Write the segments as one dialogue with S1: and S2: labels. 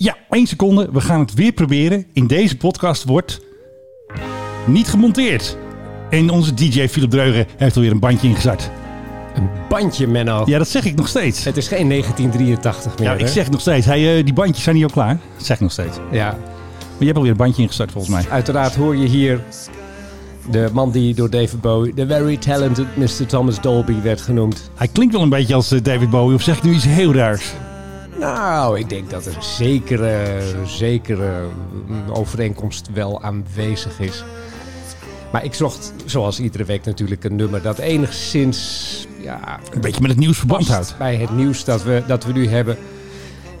S1: Ja, één seconde. We gaan het weer proberen. In deze podcast wordt niet gemonteerd. En onze DJ Philip Dreugen heeft alweer een bandje ingezet.
S2: Een bandje, Menno.
S1: Ja, dat zeg ik nog steeds.
S2: Het is geen 1983 meer.
S1: Ja, ik
S2: hè?
S1: zeg het nog steeds. Hey, eh, die bandjes zijn hier al klaar. Dat zeg ik nog steeds. Maar
S2: Ja,
S1: je hebt alweer een bandje ingestart volgens mij.
S2: uiteraard hoor je hier de man die door David Bowie, de very talented Mr. Thomas Dolby, werd genoemd.
S1: Hij klinkt wel een beetje als eh, David Bowie. Of zeg ik nu iets heel raars?
S2: Nou, ik denk dat er een zekere, zekere mm, overeenkomst wel aanwezig is. Maar ik zocht, zoals iedere week natuurlijk, een nummer dat enigszins ja,
S1: Een beetje met het nieuws verband
S2: past
S1: houdt.
S2: bij het nieuws dat we, dat we nu hebben.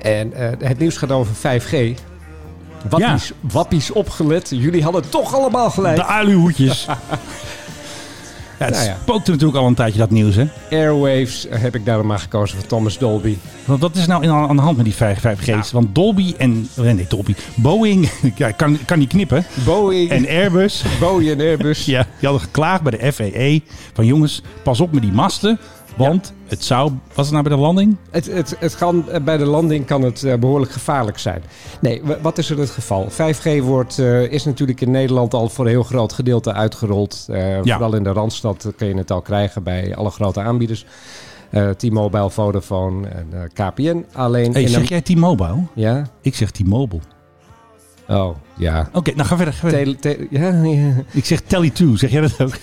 S2: En eh, het nieuws gaat over 5G. Wappies, wappies opgelet. Jullie hadden toch allemaal gelijk.
S1: De aluhoedjes. ja, het
S2: Nou ja.
S1: spookte natuurlijk al een tijdje dat nieuws, hè?
S2: Airwaves eh, heb ik daarom maar gekozen voor Thomas Dolby.
S1: Want wat is nou in- aan de hand met die 5G's? Want Dolby en... oh, Nee, Dolby. Boeing... Ja, ik kan, ik kan niet knippen.
S2: Boeing en,
S1: En Airbus...
S2: Boeing en Airbus.
S1: Ja, die hadden geklaagd bij de FAA. Van jongens, pas op met die masten. Want het zou... Was het nou bij de landing?
S2: Het, het, het kan, eh, bij de landing kan het eh, behoorlijk gevaarlijk zijn. Nee, wa- wat is er het geval? 5G wordt, eh, is natuurlijk in Nederland al voor een heel groot gedeelte uitgerold. Eh,
S1: Ja.
S2: Vooral in de Randstad eh, kun je het al krijgen bij alle grote aanbieders. Eh, T-Mobile, Vodafone en eh, KPN. Alleen
S1: Hey,
S2: in
S1: zeg
S2: een...
S1: jij T-Mobile?
S2: Ja?
S1: Ik zeg T-Mobile. Oké,
S2: Oh, ja.
S1: nou ga verder. Ga verder.
S2: Tele, tele- ja, ja.
S1: Ik zeg Tele2. Zeg jij dat ook?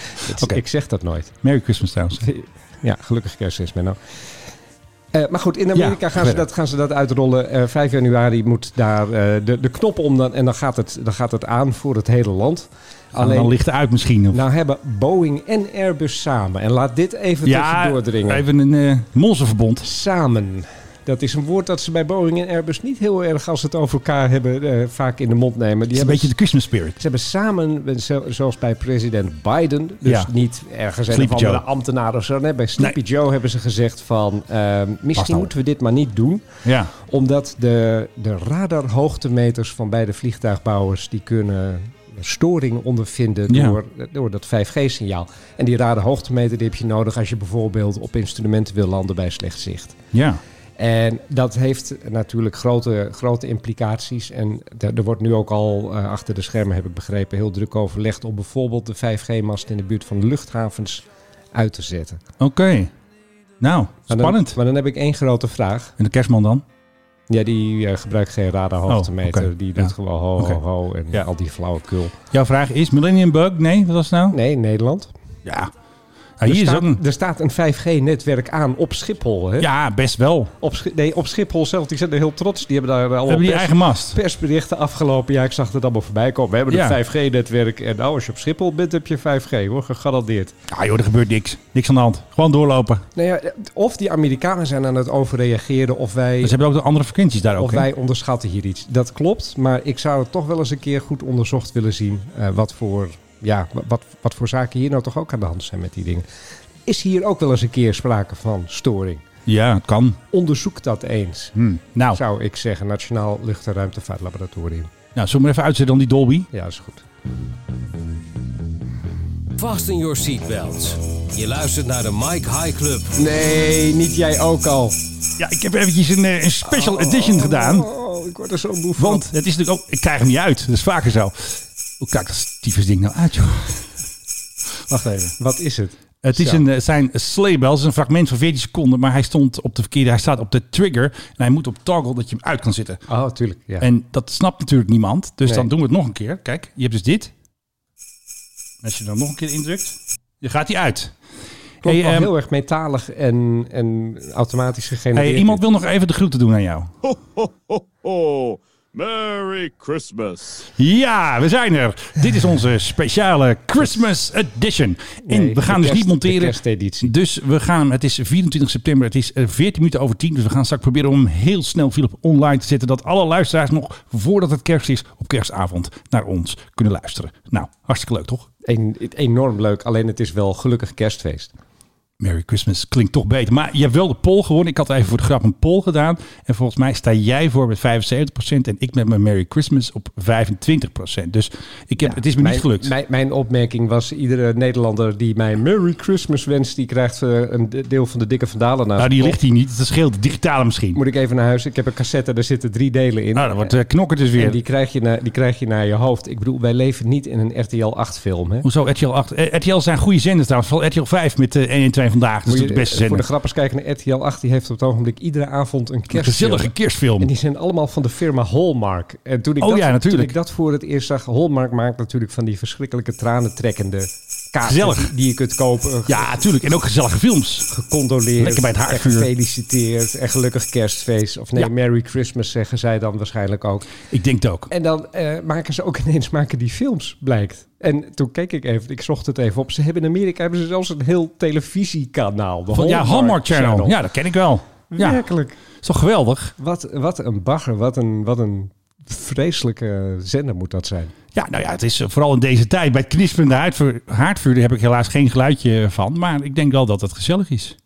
S2: Het-
S1: Oké.
S2: Ik zeg dat nooit.
S1: Merry Christmas trouwens. Nou,
S2: Ja, gelukkig kerst is Menno. Eh, maar goed, in Amerika
S1: Ja,
S2: gaan, ze
S1: verder.
S2: dat, gaan ze dat uitrollen. Eh, 5 januari moet daar eh, de, de knop om dan, en dan gaat, het, dan gaat het aan voor het hele land.
S1: Alleen... Dan
S2: Alleen,
S1: ligt het uit misschien. Of...
S2: nou hebben Boeing en Airbus samen. En laat dit even tussendoor dringen.
S1: even een eh monsterverbond.
S2: Samen. Dat is een woord dat ze bij Boeing en Airbus niet heel erg, als ze het over elkaar hebben, eh, vaak in de mond
S1: Het
S2: nemen. Die
S1: is een
S2: hebben
S1: beetje de Christmas spirit.
S2: ze hebben samen, eh, zo- zoals bij president Biden, dus
S1: Ja.
S2: niet ergens een
S1: Sleepy
S2: of andere
S1: Joe.
S2: ambtenaar of zo. Nee, bij Sleepy Joe hebben ze gezegd van, ehm, misschien
S1: nou.
S2: moeten we dit maar niet doen.
S1: Ja.
S2: Omdat de, de radarhoogtemeters van beide vliegtuigbouwers, die kunnen storing ondervinden
S1: Ja.
S2: door, eh, door dat 5G-signaal. En die radarhoogtemeter die heb je nodig als je bijvoorbeeld op instrumenten wil landen bij slecht zicht.
S1: Ja.
S2: En dat heeft natuurlijk grote, grote implicaties. En er er wordt nu ook al eh, achter de schermen, heb ik begrepen, heel druk overlegd om bijvoorbeeld de 5G-mast in de buurt van luchthavens uit te zetten. Maar
S1: Oké. Nou,
S2: dan-
S1: spannend.
S2: maar dan heb ik één grote vraag.
S1: En de kerstman dan?
S2: Ja, die eh, gebruikt geen radarhoogtemeter.
S1: Oh, oké.
S2: Die doet
S1: Ja.
S2: gewoon ho,
S1: Oké.
S2: ho, ho en
S1: Ja.
S2: al die flauwekul.
S1: Jouw vraag is Millennium Bug? Nee, wat was het nou?
S2: Nee, Nederland.
S1: Ja. Nou, hier
S2: er,
S1: is
S2: staat,
S1: ook een...
S2: er staat een 5G-netwerk aan op Schiphol. Hè?
S1: Ja, best wel.
S2: Op, Schi- nee, op Schiphol zelf. Die zijn er heel trots. Die hebben daar allemaal
S1: Hebben die
S2: pers-
S1: eigen mast?
S2: persberichten afgelopen jaar. Ik zag het allemaal voorbij komen. We hebben
S1: Ja.
S2: een 5G-netwerk. En nou, als je op Schiphol bent, heb je 5G, hoor. Gegarandeerd.
S1: Ah joh, er gebeurt niks. Niks aan de hand. Gewoon doorlopen.
S2: Nou ja, of die Amerikanen zijn aan het overreageren... of wij,
S1: Ze hebben Dus ook de andere frequenties daar ook.
S2: of
S1: hè?
S2: wij onderschatten hier iets. Dat klopt, maar ik zou het toch wel eens een keer goed onderzocht willen zien... eh, wat, voor, ja, wa- wat, wat voor zaken hier nou toch ook aan de hand zijn met die dingen. Is hier ook wel eens een keer sprake van storing?
S1: Ja, het kan.
S2: Onderzoek dat eens,
S1: Hm. Nou,
S2: zou ik zeggen. Nationaal Lucht- en Ruimtevaartlaboratorium.
S1: nou, zullen we maar even uitzetten dan die Dolby?
S2: Ja, is goed.
S3: Fasten your seatbelt. Je luistert naar de Mike High Club.
S2: Nee, niet jij ook al.
S1: Ja, ik heb eventjes een, eh, een special edition gedaan.
S2: Oh, ik word er zo moe van.
S1: Want het is natuurlijk ook... Ik krijg hem niet uit. Dat is vaker zo. Hoe kijk dat stiefes ding nou uit, joh? Wacht even.
S2: Wat is het?
S1: Het is
S2: Zo.
S1: een, het zijn sleebel. Het is een fragment van 14 seconden. Maar hij stond op de verkeerde... Hij staat op de trigger. En hij moet op toggle dat je hem uit kan zitten.
S2: Oh, tuurlijk. Ja.
S1: En dat snapt natuurlijk niemand. Dus
S2: Nee.
S1: dan doen we het nog een keer. Kijk, je hebt dus dit. Als je dan nog een keer indrukt, dan gaat hij uit.
S2: Klopt,
S1: Hey,
S2: wel
S1: ehm,
S2: heel erg metalig en, en automatisch gegenereerd.
S1: hey, iemand wil nog even de groeten doen aan jou.
S4: Oh, Merry Christmas.
S1: Ja, we zijn er. Dit is onze speciale Christmas edition. En
S2: Nee,
S1: we gaan
S2: de
S1: dus
S2: kerst-
S1: niet
S2: De
S1: monteren.
S2: kersteditie.
S1: Dus we gaan, het is 24 september, het is eh, 14 minuten over 10. Dus we gaan straks proberen om hem heel snel Philip online te zetten. Dat alle luisteraars nog, voordat het kerst is, op kerstavond naar ons kunnen luisteren. Nou, hartstikke leuk toch?
S2: Een, het- enorm leuk, alleen het is wel gelukkig kerstfeest.
S1: Merry Christmas klinkt toch beter. Maar je hebt wel de poll gewonnen. Ik had even voor de grap een poll gedaan. En volgens mij sta jij voor met 75% en ik met mijn Merry Christmas op 25%. Dus ik heb, het is me
S2: mijn,
S1: niet gelukt.
S2: Mijn, mijn opmerking was, iedere Nederlander die mij Merry Christmas wenst, die krijgt eh, een de- deel van de dikke vandalen naast.
S1: nou, die
S2: de kop.
S1: ligt hier niet. Dat scheelt. Digitale misschien.
S2: Moet ik even naar huis. Ik heb een cassette, daar zitten drie delen in.
S1: nou, dan wordt eh, knokken dus weer.
S2: en die krijg, je naar, die krijg je naar je hoofd. Ik bedoel, wij leven niet in een RTL 8 film. Hè?
S1: Hoezo RTL 8? Eh, RTL zijn goede zenders trouwens. Vooral RTL 5 met eh, 112 vandaag. Dat
S2: Moet
S1: is
S2: je,
S1: toch de beste
S2: eh, voor de
S1: zender.
S2: grappers kijken naar RTL 8. Die heeft op het ogenblik iedere avond een
S1: Een
S2: kerstfilm.
S1: gezellige kerstfilm.
S2: En die zijn allemaal van de firma Hallmark. En toen ik,
S1: Oh
S2: dat,
S1: ja, natuurlijk.
S2: toen ik dat voor het eerst zag, Hallmark maakt natuurlijk van die verschrikkelijke tranentrekkende kaarten
S1: Gezellig.
S2: Die, die je kunt kopen. Ge-
S1: Ja, tuurlijk. En ook gezellige films.
S2: Gecondoleerd.
S1: Lekker bij het
S2: en
S1: haardvuur.
S2: Gefeliciteerd. En gelukkig kerstfeest. Of nee,
S1: Ja.
S2: Merry Christmas zeggen zij dan waarschijnlijk ook.
S1: Ik denk het ook.
S2: En dan eh, maken ze ook ineens maken die films, blijkt. En toen keek ik even, ik zocht het even op. Ze hebben in Amerika hebben ze zelfs een heel televisiekanaal. de
S1: Van, ja, Hallmark Channel.
S2: Channel.
S1: Ja, dat ken ik wel. Ja,
S2: Werkelijk.
S1: is toch geweldig?
S2: Wat, wat een bagger, wat een, wat een vreselijke zender moet dat zijn.
S1: Ja, nou ja, het is eh, vooral in deze tijd. Bij het knispende haardvuur, haardvuur daar heb ik helaas geen geluidje van. Maar ik denk wel dat het gezellig is.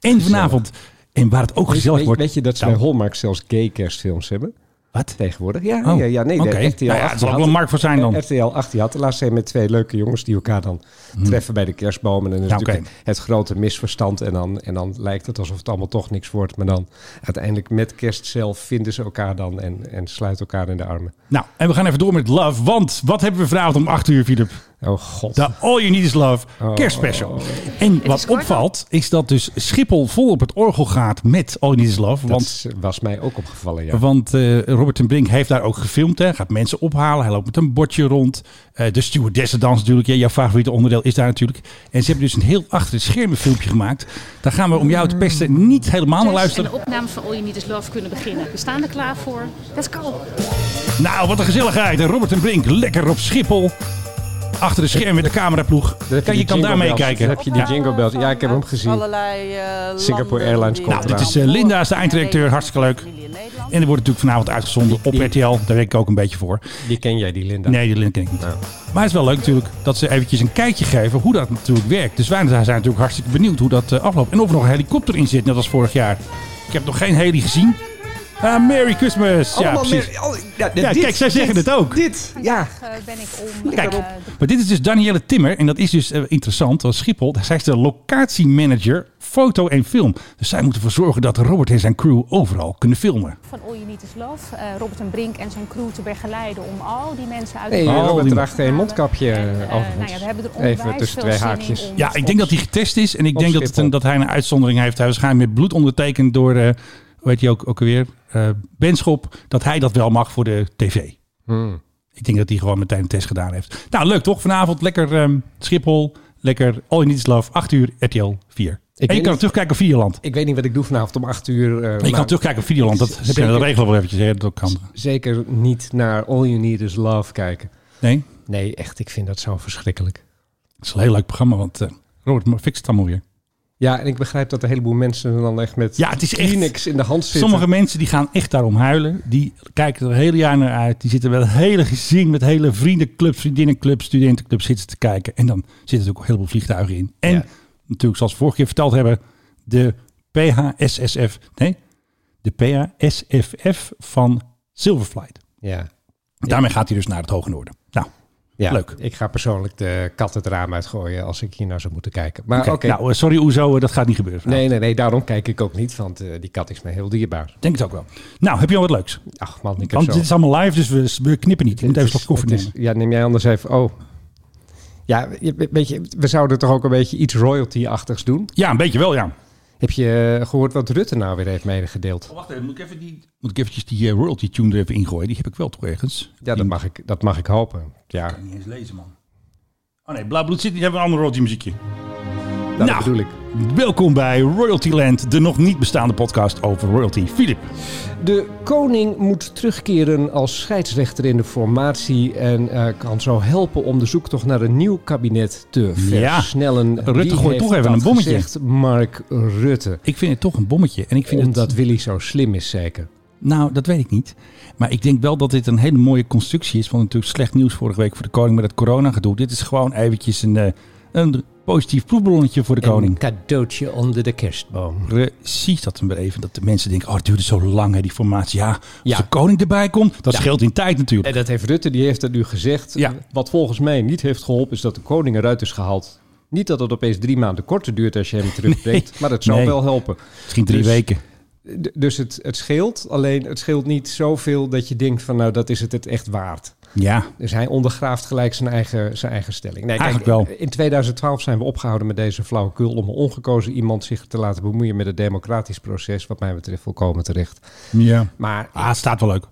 S1: En vanavond, en waar het ook gezellig
S2: weet,
S1: wordt.
S2: weet je dat ze
S1: Oh, Nou,
S2: bij Hallmark zelfs gay kerstfilms hebben?
S1: Wat?
S2: Tegenwoordig? Ja,
S1: Oh,
S2: ja, ja nee.
S1: oké.
S2: de RTL
S1: Nou ja,
S2: 8
S1: het zal ook
S2: had-
S1: wel een markt voor zijn dan.
S2: RTL 8 die had de laatste met twee leuke jongens die elkaar dan treffen bij de kerstboom. En dan is
S1: Hmm. Ja,
S2: natuurlijk
S1: oké.
S2: het grote misverstand. En dan, en dan lijkt het alsof het allemaal toch niks wordt. Maar dan uiteindelijk met kerst zelf vinden ze elkaar dan en, en sluiten elkaar in de armen.
S1: Nou, en we gaan even door met Love. Want wat hebben we vanavond om 8 uur, Filip?
S2: Oh god.
S1: De All You Need Is Love
S2: Oh.
S1: kerstspecial. En wat opvalt is dat dus Schiphol vol op het orgel gaat met All You Need Is Love.
S2: dat
S1: Want,
S2: is- was mij ook opgevallen, ja.
S1: want eh, Robert ten Brink heeft daar ook gefilmd. Hè. Gaat mensen ophalen. Hij loopt met een bordje rond. Eh, de stewardessendans natuurlijk. Ja, jouw favoriete onderdeel is daar natuurlijk. En ze hebben dus een heel achter het schermen filmpje gemaakt. Daar gaan we om jou te pesten niet helemaal naar
S5: thuis en
S1: luisteren.
S5: de opnames van All You Need Is Love kunnen beginnen. We staan er klaar voor. Let's go!
S1: Nou, wat een gezelligheid. En Robert ten Brink lekker op Schiphol. Achter de schermen met de cameraploeg.
S2: heb
S1: Kijk, je
S2: die
S1: kan
S2: jingle
S1: daar
S2: bells. Dan
S1: meekijken.
S2: heb je die jingle bells. Ja, ik heb hem gezien.
S6: Allerlei, eh,
S2: Singapore
S6: landen
S2: Airlines
S6: die-
S2: komt
S1: Nou, dit is eh, Linda, is de eindredacteur. Hartstikke leuk. En die wordt natuurlijk vanavond uitgezonden op
S2: Die-
S1: RTL. Daar werk ik ook een beetje voor.
S2: Die ken jij, die Linda.
S1: Nee, die link ken ik niet. Maar het is wel leuk natuurlijk dat ze eventjes een kijkje geven hoe dat natuurlijk werkt. Dus wij zijn natuurlijk hartstikke benieuwd hoe dat eh, afloopt. En of er nog een helikopter in zit, net als vorig jaar. Ik heb nog geen heli gezien. Ah, Merry Christmas! ja, precies.
S7: oh, nou,
S1: Ja, kijk, zij zeggen het ook.
S2: Dit, ja.
S7: eh, ben ik om. eh,
S1: Kijk, maar dit is dus Danielle Timmer. En dat is dus eh, interessant. Als Schiphol, zij is de locatiemanager foto en film. Dus zij moeten ervoor zorgen dat Robert en zijn crew overal kunnen filmen.
S7: Van All You Need Is Love, eh, Robert en Brink en zijn crew te begeleiden om al die mensen uit
S2: Hey,
S1: Oh,
S2: Robert
S1: die-
S2: draagt een mondkapje
S7: En, eh,
S2: overigens.
S7: nou ja, we hebben er onwijs
S2: Even tussen
S7: veel
S2: twee
S7: zin in
S2: haakjes.
S7: om-
S1: Ja, ik denk dat hij getest is. En ik
S2: Op
S1: denk dat, het een-
S2: Schiphol.
S1: dat hij een uitzondering heeft. Hij is waarschijnlijk met bloed ondertekend door, eh hoe heet hij ook, ook weer, Eh, Benschop. Dat hij dat wel mag voor de tv.
S2: Hmm.
S1: Ik denk dat hij gewoon meteen een test gedaan heeft. Nou, leuk toch? Vanavond lekker ehm, Schiphol. Lekker All You Need Is Love. 8 uur, RTL 4.
S2: weet
S1: en je kan
S2: niet-
S1: het terugkijken op Videoland.
S2: Ik weet niet wat ik doe vanavond om acht uur. eh,
S1: En je kan
S2: maar
S1: terugkijken op Videoland. Dat heb je
S2: zeker.
S1: de regel wel eventjes. Hè? Dat kan.
S2: Zeker niet naar All You Need Is Love kijken.
S1: Nee,
S2: Nee, echt, ik vind dat zo verschrikkelijk.
S1: het is een heel leuk programma. Want eh Robert fix het allemaal weer.
S2: Ja, en ik begrijp dat een heleboel mensen dan echt met
S1: Ja, het is echt...
S2: Kleenex in de hand zitten.
S1: Sommige mensen die gaan echt daarom huilen. Die kijken er het hele jaar naar uit. Die zitten met het hele gezin, met hele vriendenclubs, vriendinnenclubs, studentenclubs zitten te kijken. En dan zitten er ook een heleboel vliegtuigen in. En
S2: Ja.
S1: natuurlijk, zoals we vorige keer verteld hebben, de PHSSF. Nee, de PHSFF van Silverflight.
S2: Ja,
S1: Daarmee gaat hij dus naar het Hoge Noorden. Nou,
S2: ja,
S1: Leuk.
S2: Ik ga persoonlijk de kat het raam uitgooien als ik hier naar zou moeten kijken. Maar Ah, oké.
S1: oké. nou eh, sorry Oezo, eh, dat gaat niet gebeuren. vanavond.
S2: Nee, nee, nee, daarom kijk ik ook niet, want eh, die kat is me heel dierbaar.
S1: Denk het ook wel. Nou, heb je al wat leuks?
S2: Ach man, ik heb
S1: Want
S2: zo...
S1: dit is allemaal live, dus we, we knippen niet. Ik moet
S2: Het
S1: even
S2: is-
S1: een slok koffie
S2: het is-
S1: nemen.
S2: Ja, neem jij anders even. Oh. Ja, je- weet je, we zouden toch ook een beetje iets royalty-achtigs doen?
S1: Ja, een beetje wel, ja.
S2: Heb je eh, gehoord wat Rutte nou weer heeft medegedeeld?
S1: Oh, wacht even, moet ik even die... Moet ik eventjes die eh, royalty tune er even ingooien? Die heb ik wel toch ergens?
S2: Ja, dat mag ik, dat mag ik hopen. Ja,
S1: Niet eens lezen, man. Oh nee, Blauw Bloed City, die hebben een ander royalty muziekje.
S2: dat
S1: Nou.
S2: bedoel ik.
S1: Welkom bij Royalty Land, de nog niet bestaande podcast over royalty. Filip,
S2: De koning moet terugkeren als scheidsrechter in de formatie en eh, kan zo helpen om de zoektocht naar een nieuw kabinet te
S1: Ja.
S2: versnellen.
S1: Rutte
S2: Wie
S1: gooit
S2: heeft
S1: toch even
S2: dat
S1: een bommetje.
S2: gezegd? Mark Rutte.
S1: ik vind het toch een bommetje. En ik vind het,
S2: Omdat Willy zo slim is, zeker.
S1: Nou, dat weet ik niet. Maar ik denk wel dat dit een hele mooie constructie is. Want natuurlijk slecht nieuws vorige week voor de koning met het corona gedoe. Dit is gewoon eventjes een, eh, een positief proefballonnetje voor de koning.
S2: Een cadeautje onder de kerstboom.
S1: Precies dat hem weer even. Dat de mensen denken, oh, het duurde zo lang hè, die formatie. Ja, als
S2: Ja.
S1: de koning erbij komt, dat
S2: Ja.
S1: scheelt in tijd natuurlijk.
S2: En dat heeft Rutte, die heeft het nu gezegd.
S1: Ja.
S2: Wat volgens mij niet heeft geholpen, is dat de koning eruit is gehaald. Niet dat het opeens drie maanden korter duurt als je hem terugbrengt, maar dat zou
S1: Nee.
S2: wel helpen.
S1: Misschien drie
S2: dus-
S1: weken.
S2: D- dus het, het scheelt, alleen het scheelt niet zoveel dat je denkt van nou, dat is het het echt waard.
S1: Ja,
S2: Dus hij ondergraaft gelijk zijn eigen, zijn eigen stelling. Nee,
S1: Eigenlijk wel.
S2: In 2012 zijn we opgehouden met deze flauwekul om een ongekozen iemand zich te laten bemoeien met het democratisch proces. Wat mij betreft volkomen terecht.
S1: ja.
S2: Maar
S1: Ah, het staat wel leuk.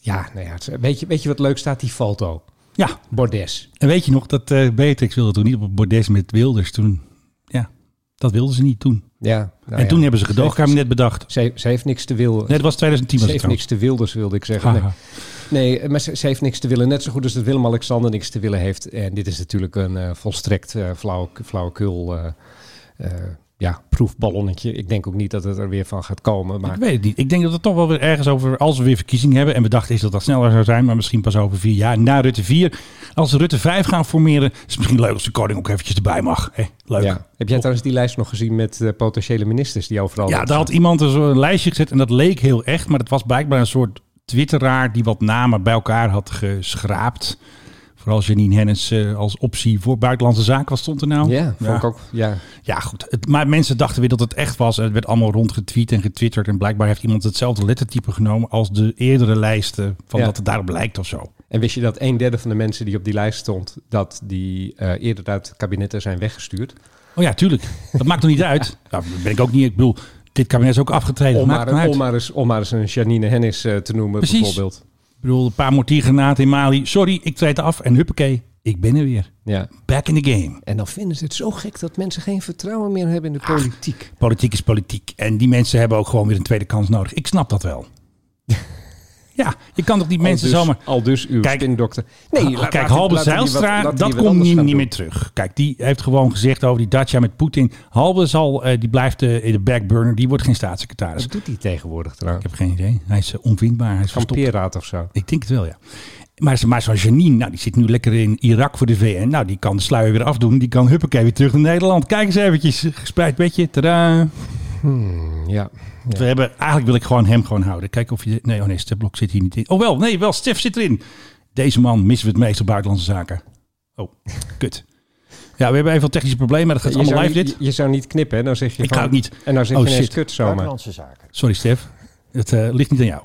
S2: ja, nou ja, het- weet je, weet je wat leuk staat? Die foto.
S1: Ja,
S2: Bordes.
S1: en weet je nog dat eh, Beatrix wilde toen niet op het bordes met Wilders toen. Ja, dat wilden ze niet toen.
S2: Ja, nou
S1: en
S2: ja.
S1: toen hebben ze gedoogkabinet bedacht.
S2: Ze, ze heeft niks te willen.
S1: Nee, dat was 2010
S2: Ze
S1: was
S2: heeft
S1: het
S2: niks te wilders, wilde ik zeggen. Nee,
S1: trouwens.
S2: nee, eh, maar ze, ze heeft niks te willen. Net zo goed als dat Willem-Alexander niks te willen heeft. En dit is natuurlijk een eh, volstrekt eh flauwe, flauwekul eh, eh, ja, proefballonnetje. Ik denk ook niet dat het er weer van gaat komen. Maar
S1: Ik weet het niet. Ik denk dat het toch wel weer ergens over, als we weer verkiezingen hebben, en we dachten is dat dat sneller zou zijn, maar misschien pas over vier jaar, na Rutte 4. Als ze Rutte 5 gaan formeren, is het misschien leuk als de koning ook eventjes erbij mag. Hè? Leuk.
S2: ja. heb jij trouwens die lijst nog gezien met eh, potentiële ministers die overal...
S1: Ja, daar had iemand een zo'n lijstje gezet en dat leek heel echt, maar dat was blijkbaar een soort twitteraar die wat namen bij elkaar had geschraapt. Vooral Janine Hennis eh, als optie voor buitenlandse zaken, wat stond er nou?
S2: Ja, vond ik ook. Ja.
S1: Ja, goed. Het, maar mensen dachten weer dat het echt was. Het werd allemaal rondgetweet en getwitterd. En blijkbaar heeft iemand hetzelfde lettertype genomen als de eerdere lijsten. Van
S2: Ja.
S1: dat het daarop lijkt of zo.
S2: En wist je dat een derde van de mensen die op die lijst stond, dat die eh, eerder uit kabinetten zijn weggestuurd?
S1: Oh ja, tuurlijk. Dat maakt nog niet uit. Nou, dat ben ik ook niet. Ik bedoel, dit kabinet is ook afgetreden.
S2: Om
S1: maakt
S2: maar,
S1: maar uit.
S2: om, maar eens, om maar eens een Janine Hennis eh, te noemen,
S1: Precies.
S2: bijvoorbeeld.
S1: Ik bedoel, een paar mortiergranaten in Mali. Sorry, ik treed af. En huppakee, ik ben er weer.
S2: Ja.
S1: Back in the game.
S2: En dan vinden ze het zo gek dat mensen geen vertrouwen meer hebben in de politiek.
S1: Politiek is politiek. En die mensen hebben ook gewoon weer een tweede kans nodig. Ik snap dat wel. ja, je kan toch die mensen
S2: al dus,
S1: zomaar...
S2: Al dus uw
S1: Kijk,
S2: spindokter.
S1: Ah,
S2: laat-
S1: kijk,
S2: laat-
S1: Halbe
S2: laten die wat-
S1: Zijlstra,
S2: laten die
S1: dat
S2: wat
S1: komt
S2: anders
S1: niet,
S2: gaan
S1: niet
S2: doen.
S1: meer terug. Kijk, die heeft gewoon gezegd over die Dacia met Poetin. Halbe zal, eh, die blijft eh, in de backburner, die wordt geen staatssecretaris.
S2: Dat doet hij tegenwoordig
S1: Ik
S2: trouwens.
S1: heb geen idee. Hij is eh, onvindbaar, hij is verstopt.
S2: Kampeerraad of zo.
S1: Ik denk het wel, ja. Maar, ze- maar zo'n Janine, nou, die zit nu lekker in Irak voor de VN. Nou, die kan de sluier weer afdoen. Die kan huppakee weer terug naar Nederland. Kijk eens eventjes, gespreid bedje, tadaa.
S2: Ja.
S1: We hebben, eigenlijk wil ik gewoon hem gewoon houden. Kijken of je... Nee, oh nee, Stef Blok zit hier niet in. Oh wel, nee, wel, Stef zit erin. Deze man missen we het meest op buitenlandse zaken. Oh, kut. Ja, we hebben even wat technische problemen, maar dat gaat
S2: Je
S1: allemaal
S2: zou
S1: live
S2: niet-
S1: dit.
S2: Je, je zou niet knippen, hè? Dan zeg je
S1: Ik
S2: van,
S1: ga ook niet.
S2: En dan zeg
S1: Oh,
S2: je ineens
S1: shit.
S2: kut zomaar.
S1: Sorry Stef, het eh, ligt niet aan jou.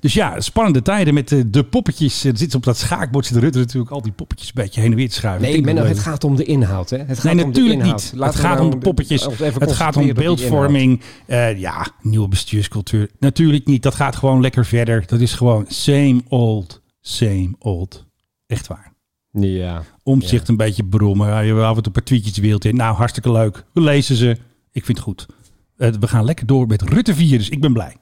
S1: Dus ja, spannende tijden met eh, de poppetjes. Er zit op dat schaakbord zit Rutte natuurlijk al die poppetjes een beetje heen en weer te schuiven.
S2: Nee,
S1: Ik denk
S2: Menno,
S1: dat
S2: het
S1: we-
S2: gaat om de inhoud, hè? Het gaat
S1: Nee,
S2: om
S1: natuurlijk
S2: de inhoud.
S1: niet.
S2: Laten
S1: het
S2: we
S1: gaat
S2: nou
S1: om de poppetjes.
S2: ons even
S1: Het gaat om
S2: concentreren op die inhoud.
S1: beeldvorming. Eh, ja, nieuwe bestuurscultuur. Natuurlijk niet. Dat gaat gewoon lekker verder. Dat is gewoon same old, same old. Echt waar.
S2: Ja.
S1: Omzicht een beetje brommen. Ja, Je hebt af en toe een paar tweetjes de wereld in. Nou, hartstikke leuk. We lezen ze. Ik vind het goed. Eh, we gaan lekker door met Rutte 4. Dus ik ben blij.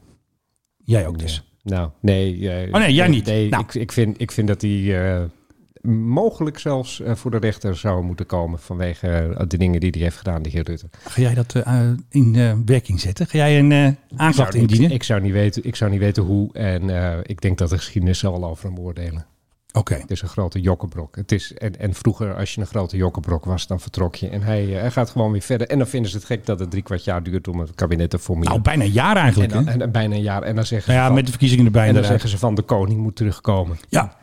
S1: Jij ook dus.
S2: Nou, nee. eh,
S1: Oh, nee, jij niet.
S2: Nee,
S1: Nou.
S2: ik, ik, vind, ik vind dat hij eh, mogelijk zelfs eh, voor de rechter zou moeten komen vanwege eh, de dingen die hij heeft gedaan, de heer Rutte.
S1: Ga jij dat eh, in eh, werking zetten? Ga jij een eh aanklacht
S2: ik,
S1: indienen?
S2: Nou, ik zou niet weten, ik zou niet weten hoe en eh, ik denk dat de geschiedenis zal wel over hem oordelen.
S1: Oké.
S2: Het is een grote jokkenbrok. Het is, en, en vroeger, als je een grote jokkenbrok was, dan vertrok je. En hij, eh, hij gaat gewoon weer verder. En dan vinden ze het gek dat het drie kwart jaar duurt om het kabinet te formeren.
S1: Nou, bijna een jaar
S2: en,
S1: eigenlijk.
S2: dan,
S1: hè?
S2: en dan bijna een jaar. En dan zeggen
S1: Nou
S2: ze,
S1: ja,
S2: van,
S1: met de verkiezingen erbij.
S2: en dan
S1: inderdaad.
S2: zeggen ze van de koning moet terugkomen.
S1: Ja,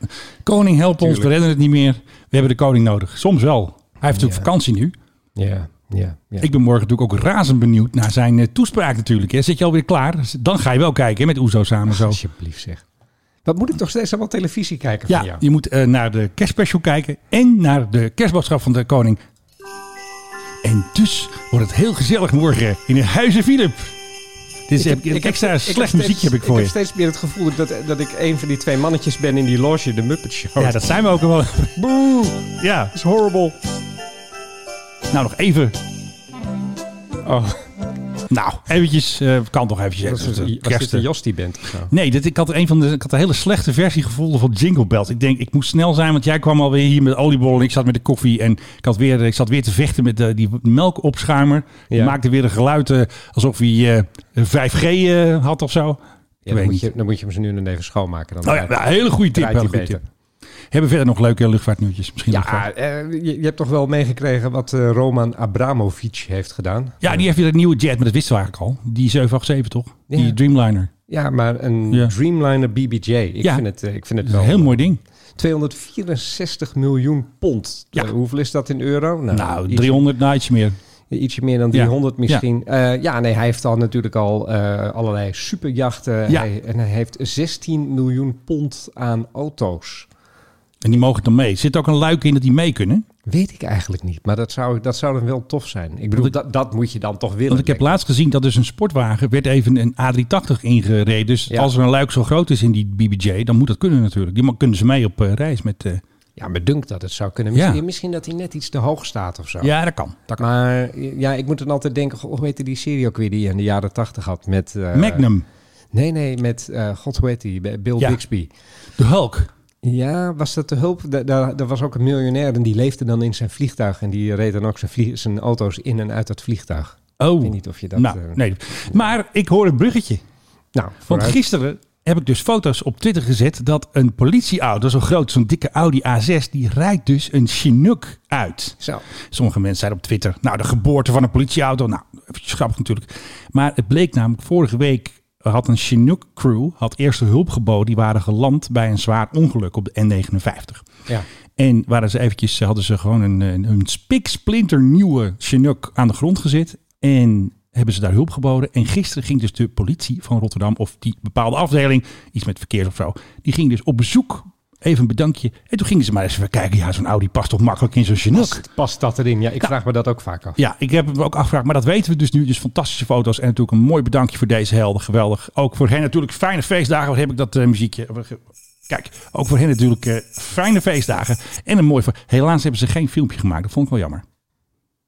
S1: koning help ons, we redden het niet meer. We hebben de koning nodig. Soms wel. Hij heeft natuurlijk
S2: Ja.
S1: vakantie nu.
S2: Ja, ja, ja.
S1: Ik ben morgen natuurlijk ook razend benieuwd naar zijn eh, toespraak natuurlijk. Hè. Zit je alweer klaar? Dan ga je wel kijken hè, met Oezo samen zo.
S2: Alsjeblieft zeg. Wat moet ik toch steeds allemaal televisie kijken van
S1: Ja,
S2: jou?
S1: je moet eh, naar de kerstspecial kijken en naar de kerstboodschap van de koning. En dus wordt het heel gezellig morgen in de Huizen Philip. Dit is
S2: Ik heb-
S1: heb, een
S2: ik heb
S1: extra
S2: steeds- ik
S1: slecht
S2: heb
S1: muziekje
S2: steeds-
S1: heb ik voor
S2: Ik
S1: je.
S2: heb steeds meer het gevoel dat, dat ik een van die twee mannetjes ben in die loge, de Muppet Show.
S1: Ja, dat zijn we ook wel.
S2: Boe,
S1: Ja,
S2: is horrible.
S1: nou nog even.
S2: Oh,
S1: Nou, eventjes, eh, kan toch eventjes.
S2: was,
S1: even,
S2: was dit
S1: kersten.
S2: een Jos die bent of zo?
S1: Nee, dit, ik, had een van de, ik had een hele slechte versie gevonden van Jingle Bells. Ik denk, ik moest snel zijn, want jij kwam alweer hier met oliebollen. Ik zat met de koffie en ik, had weer, ik zat weer te vechten met eh, die melkopschuimer. Die
S2: Ja.
S1: maakte weer een geluid eh, alsof hij eh, 5G eh, had of zo.
S2: Ja,
S1: weet
S2: dan, moet
S1: niet.
S2: je, dan moet je hem ze nu en dan even schoonmaken. Dan
S1: Nou ja, nou, hele goede tip.
S2: draait
S1: Hele
S2: hij
S1: goede
S2: beter.
S1: tip. Hebben verder nog leuke luchtvaartnieuwtjes misschien? nog wel.
S2: Ja, eh, je, je hebt toch wel meegekregen wat eh, Roman Abramovic heeft gedaan.
S1: ja, die heeft weer een nieuwe jet, maar dat wisten we eigenlijk al. Die 787 toch? Die
S2: Ja.
S1: Dreamliner.
S2: Ja, maar een
S1: Ja.
S2: Dreamliner BBJ. Ik,
S1: Ja.
S2: vind, het, eh, ik vind
S1: Dat
S2: het
S1: is een
S2: wel
S1: heel mooi ding.
S2: 264 miljoen pond.
S1: Ja.
S2: Eh, hoeveel is dat in euro?
S1: Nou,
S2: ietsje-
S1: 300 nights meer.
S2: Ietsje meer dan
S1: Ja.
S2: 300 misschien. Ja. ja, nee, hij heeft al natuurlijk al eh, allerlei superjachten.
S1: Ja.
S2: Hij, en hij heeft 16 miljoen pond aan auto's.
S1: En die mogen dan mee. Er zit ook een luik in dat die mee kunnen.
S2: Weet ik eigenlijk niet, maar dat zou, dat zou dan wel tof zijn. Ik bedoel,
S1: ik-
S2: dat, dat moet je dan toch willen.
S1: Want ik heb
S2: denk
S1: laatst gezien dat dus een sportwagen werd even een A380 ingereden. Dus
S2: Ja.
S1: als er een luik zo groot is in die BBJ, dan moet dat kunnen natuurlijk. Die ma- kunnen ze mee op eh, reis met... eh,
S2: Ja, me dunkt dat het zou kunnen.
S1: Ja.
S2: Misschien, misschien dat hij net iets te hoog staat of zo.
S1: ja, dat kan. Dat kan.
S2: Maar ja, ik moet dan altijd denken, goh, hoe heette die serie ook weer die je in de jaren tachtig had? Met, eh,
S1: Magnum,
S2: Nee, nee, met, eh, god hoe heet die, Bill
S1: Ja.
S2: Bixby.
S1: de Hulk.
S2: Ja, was dat de hulp? Da- da- Daar was ook een miljonair en die leefde dan in zijn vliegtuig. En die reed dan ook zijn, vlie- zijn auto's in en uit dat vliegtuig.
S1: Oh,
S2: Ik weet niet of je dat...
S1: nou,
S2: eh,
S1: nee. Maar ik hoor een bruggetje.
S2: Nou,
S1: Want
S2: vooruit.
S1: gisteren heb ik dus foto's op Twitter gezet dat een politieauto, zo groot, zo'n dikke Audi A6, die rijdt dus een Chinook uit.
S2: Zo.
S1: Sommige mensen zeiden op Twitter, nou de geboorte van een politieauto, nou eventjes grappig natuurlijk. Maar het bleek namelijk, vorige week had een Chinook crew, had eerste hulp geboden, die waren geland bij een zwaar ongeluk op de N59.
S2: Ja.
S1: En waren ze eventjes, eh, hadden ze gewoon een, een, een spiksplinter nieuwe Chinook aan de grond gezet. En hebben ze daar hulp geboden. En gisteren ging dus de politie van Rotterdam, of die bepaalde afdeling, iets met verkeer of zo, die ging dus op bezoek. Even een bedankje. En toen gingen ze maar eens even kijken. Ja, zo'n Audi past toch makkelijk in zo'n Chinook.
S2: Past, past dat erin? Ja, ik
S1: Ja.
S2: vraag me dat ook vaak af.
S1: Ja, ik heb hem ook afgevraagd, maar dat weten we dus nu. Dus fantastische foto's en natuurlijk een mooi bedankje voor deze helden. Geweldig. Ook voor hen natuurlijk fijne feestdagen. Wat heb ik dat eh, muziekje? Kijk, ook voor hen natuurlijk eh, fijne feestdagen en een mooi... ver- Helaas hebben ze geen filmpje gemaakt. Dat vond ik wel jammer.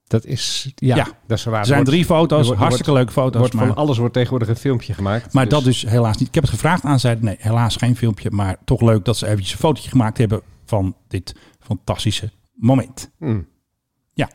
S2: Dat is... Ja,
S1: Ja.
S2: dat is waar.
S1: Er zijn
S2: Wordt-
S1: drie foto's,
S2: er wordt-
S1: hartstikke
S2: wordt-
S1: leuke foto's.
S2: Wordt
S1: maar
S2: van alles wordt tegenwoordig een filmpje gemaakt.
S1: maar
S2: dus-
S1: dat dus helaas niet. Ik heb het gevraagd aan, zeiden nee, helaas geen filmpje. Maar toch leuk dat ze eventjes een fotootje gemaakt hebben van dit fantastische moment.
S2: Hmm.
S1: Ja.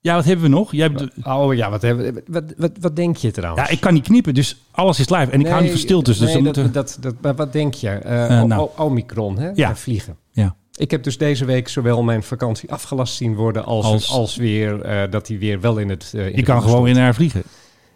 S1: Ja, wat hebben we nog? Jij hebt...
S2: Oh ja, wat, hebben, we- wat, wat, wat denk je trouwens?
S1: Ja, ik kan niet kniepen, dus alles is live. En ik hou niet verstild, dus, dus
S2: nee,
S1: dan
S2: dat,
S1: moeten...
S2: dat, dat, maar wat denk je? Eh
S1: Eh,
S2: o-
S1: nou.
S2: o- Omicron, hè?
S1: Ja.
S2: En vliegen.
S1: Ja.
S2: Ik heb dus deze week zowel mijn vakantie afgelast zien worden... als,
S1: Als-
S2: als, weer eh, dat hij weer wel in het... eh, in
S1: Je
S2: de
S1: kan
S2: koers
S1: gewoon
S2: stond.
S1: weer naar vliegen.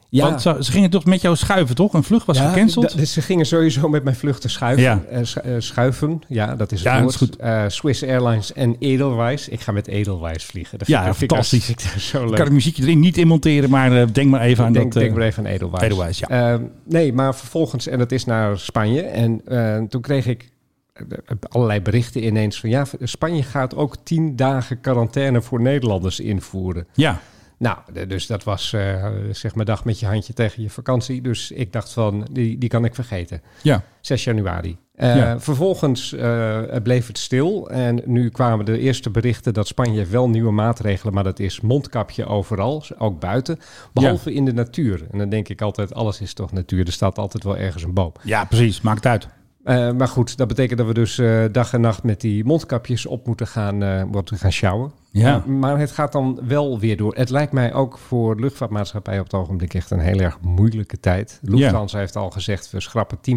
S2: Ja.
S1: Want ze, ze gingen toch met jou schuiven, toch? Een vlucht was
S2: Ja,
S1: gecanceld.
S2: d- dus ze gingen sowieso met mijn vluchten schuiven.
S1: Ja.
S2: Eh, schu- eh, schuiven, ja, dat is het
S1: Ja, dat
S2: woord.
S1: is goed.
S2: Eh, Swiss Airlines en Edelweiss. Ik ga met Edelweiss vliegen. Dat
S1: Ja,
S2: vind ik- vind ik
S1: fantastisch.
S2: hartstikke zo leuk.
S1: Ik kan het muziekje erin niet in monteren, maar eh, denk maar even aan
S2: denk,
S1: dat... eh,
S2: denk maar even aan Edelweiss.
S1: Edelweiss, ja.
S2: Ehm, nee, maar vervolgens, en dat is naar Spanje. En eh, toen kreeg ik eh, allerlei berichten ineens van... ja, Spanje gaat ook tien dagen quarantaine voor Nederlanders invoeren.
S1: ja,
S2: Nou, d- dus dat was eh, zeg maar dag met je handje tegen je vakantie. Dus ik dacht van, die, die kan ik vergeten.
S1: ja.
S2: 6 januari. Eh,
S1: Ja.
S2: Vervolgens eh, bleef het stil. En nu kwamen de eerste berichten dat Spanje heeft wel nieuwe maatregelen. Maar dat is mondkapje overal, ook buiten. Behalve in de natuur. En dan denk ik altijd, alles is toch natuur. Er staat altijd wel ergens een boom.
S1: Ja, precies. Maakt uit.
S2: Eh, maar goed, dat betekent dat we dus eh, dag en nacht met die mondkapjes op moeten gaan, eh moeten gaan sjouwen.
S1: Ja.
S2: Maar het gaat dan wel weer door. Het lijkt mij ook voor luchtvaartmaatschappijen op het ogenblik echt een heel erg moeilijke tijd. Lufthansa heeft al gezegd, we schrappen 10%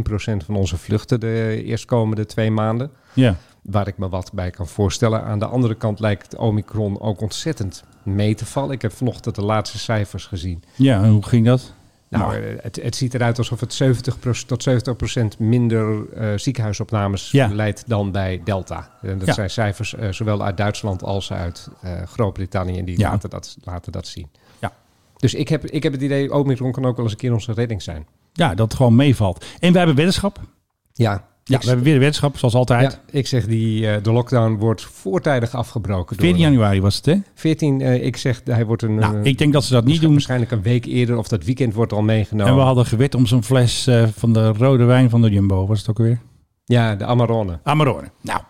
S2: van onze vluchten de eerstkomende twee maanden.
S1: Ja.
S2: Waar ik me wat bij kan voorstellen. Aan de andere kant lijkt Omicron ook ontzettend mee te vallen. Ik heb vanochtend de laatste cijfers gezien.
S1: ja, en hoe ging dat?
S2: Nou, eh, het, het ziet eruit alsof het 70 tot 70 minder eh, ziekenhuisopnames
S1: Ja.
S2: leidt dan bij Delta. En dat
S1: Ja.
S2: zijn cijfers eh, zowel uit Duitsland als uit eh, Groot-Brittannië. En die
S1: Ja.
S2: laten, dat, laten dat zien.
S1: Ja.
S2: Dus ik heb, ik heb het idee, Omicron kan ook wel eens een keer onze redding zijn.
S1: Ja, dat het gewoon meevalt. En we hebben weddenschap.
S2: Ja,
S1: Ja,
S2: ja,
S1: we hebben weer een weddenschap, zoals altijd.
S2: ja ik zeg die, eh, de lockdown wordt voortijdig afgebroken. Door
S1: 14 januari was het, hè?
S2: 14, eh, ik zeg, hij wordt een...
S1: Nou,
S2: eh,
S1: ik denk dat ze dat niet doen.
S2: Waarschijnlijk een week eerder of dat weekend wordt al meegenomen.
S1: En we hadden gewet om zo'n fles eh, van de rode wijn van de Jumbo. Was het ook weer?
S2: Ja, de Amarone.
S1: Amarone. Nou,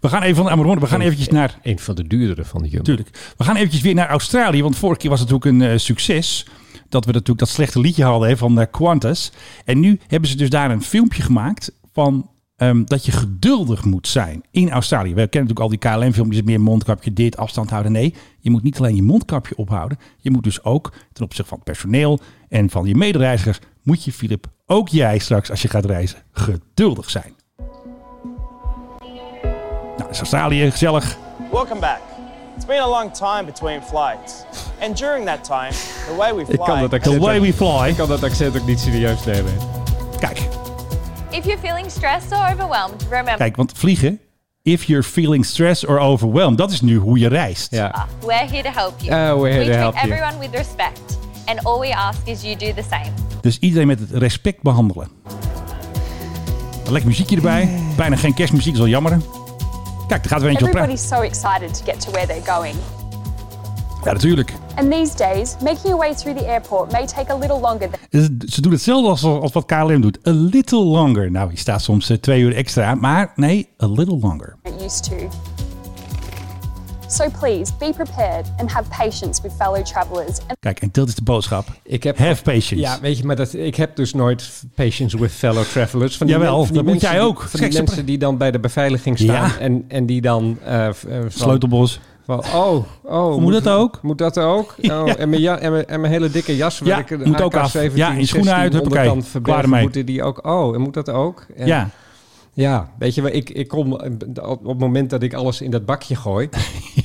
S1: we gaan even van de Amarone. We gaan eventjes naar
S2: Een van de duurdere van de Jumbo.
S1: Tuurlijk. We gaan eventjes weer naar Australië, want vorige keer was het natuurlijk een eh, succes. Dat we natuurlijk dat slechte liedje hadden hè, van eh, Qantas. En nu hebben ze dus daar een filmpje gemaakt van ehm, dat je geduldig moet zijn in Australië. We kennen natuurlijk al die KLM-filmpjes, meer mondkapje, dit, afstand houden. Nee, je moet niet alleen je mondkapje ophouden. Je moet dus ook ten opzichte van het personeel en van je medereizigers, moet je, Filip, ook jij straks als je gaat reizen, geduldig zijn. Nou, is Australië, gezellig.
S6: Welcome back. It's been a long time between flights. And during that time, the way we
S2: Ik kan
S6: fly
S2: dat accent,
S1: The way
S2: ook,
S1: we fly.
S2: ik kan dat accent ook niet serieus nemen.
S1: Kijk,
S8: If you're feeling stressed or overwhelmed, remember
S1: kijk, want vliegen. If you're feeling stressed or overwhelmed. Dat is nu hoe je reist.
S2: Ja.
S8: we're here to help you.
S2: Oh, we're
S8: we
S2: here to
S8: treat
S2: help you.
S8: everyone with respect, and all we ask is you do the same.
S1: Dus iedereen met het respect behandelen. Een lekker muziekje erbij. Bijna geen kerstmuziek, is wel jammer. Kijk, er gaat weer eentje op praten.
S9: Everybody's so excited to get to where they're going.
S1: Ja, natuurlijk.
S9: And these days, making your way through the airport may take a little longer than
S1: Dus Ze doen hetzelfde als, als wat KLM doet. A little longer. Nou, je staat soms eh, twee uur extra. Maar nee, a little longer.
S9: you're used to. So please be prepared and have patience with fellow travellers and
S1: Kijk, en dat is de boodschap.
S2: Ik heb,
S1: Have patience.
S2: Ja, weet je, maar dat, ik heb dus nooit patience with fellow travelers. Van die
S1: Jawel,
S2: men- van die
S1: dat moet
S2: mensen
S1: jij
S2: die-
S1: ook.
S2: Van
S1: Kijk,
S2: die
S1: ze-
S2: mensen die dan bij de beveiliging staan
S1: Ja.
S2: en, en die dan... eh, v- eh, van-
S1: Sleutelbos.
S2: van, oh, oh.
S1: Moet dat ook?
S2: Moet dat ook? Oh,
S1: Ja.
S2: en, mijn ja, en, mijn, en mijn hele dikke jas
S1: Ja,
S2: werken.
S1: moet ook af. Ja, en schoenen uit, huppakee. Klaar ermee.
S2: Moeten die ook? Oh, en moet dat ook? En-
S1: Ja.
S2: Ja, weet je, wel, ik, ik kom eh, op het moment dat ik alles in dat bakje gooi,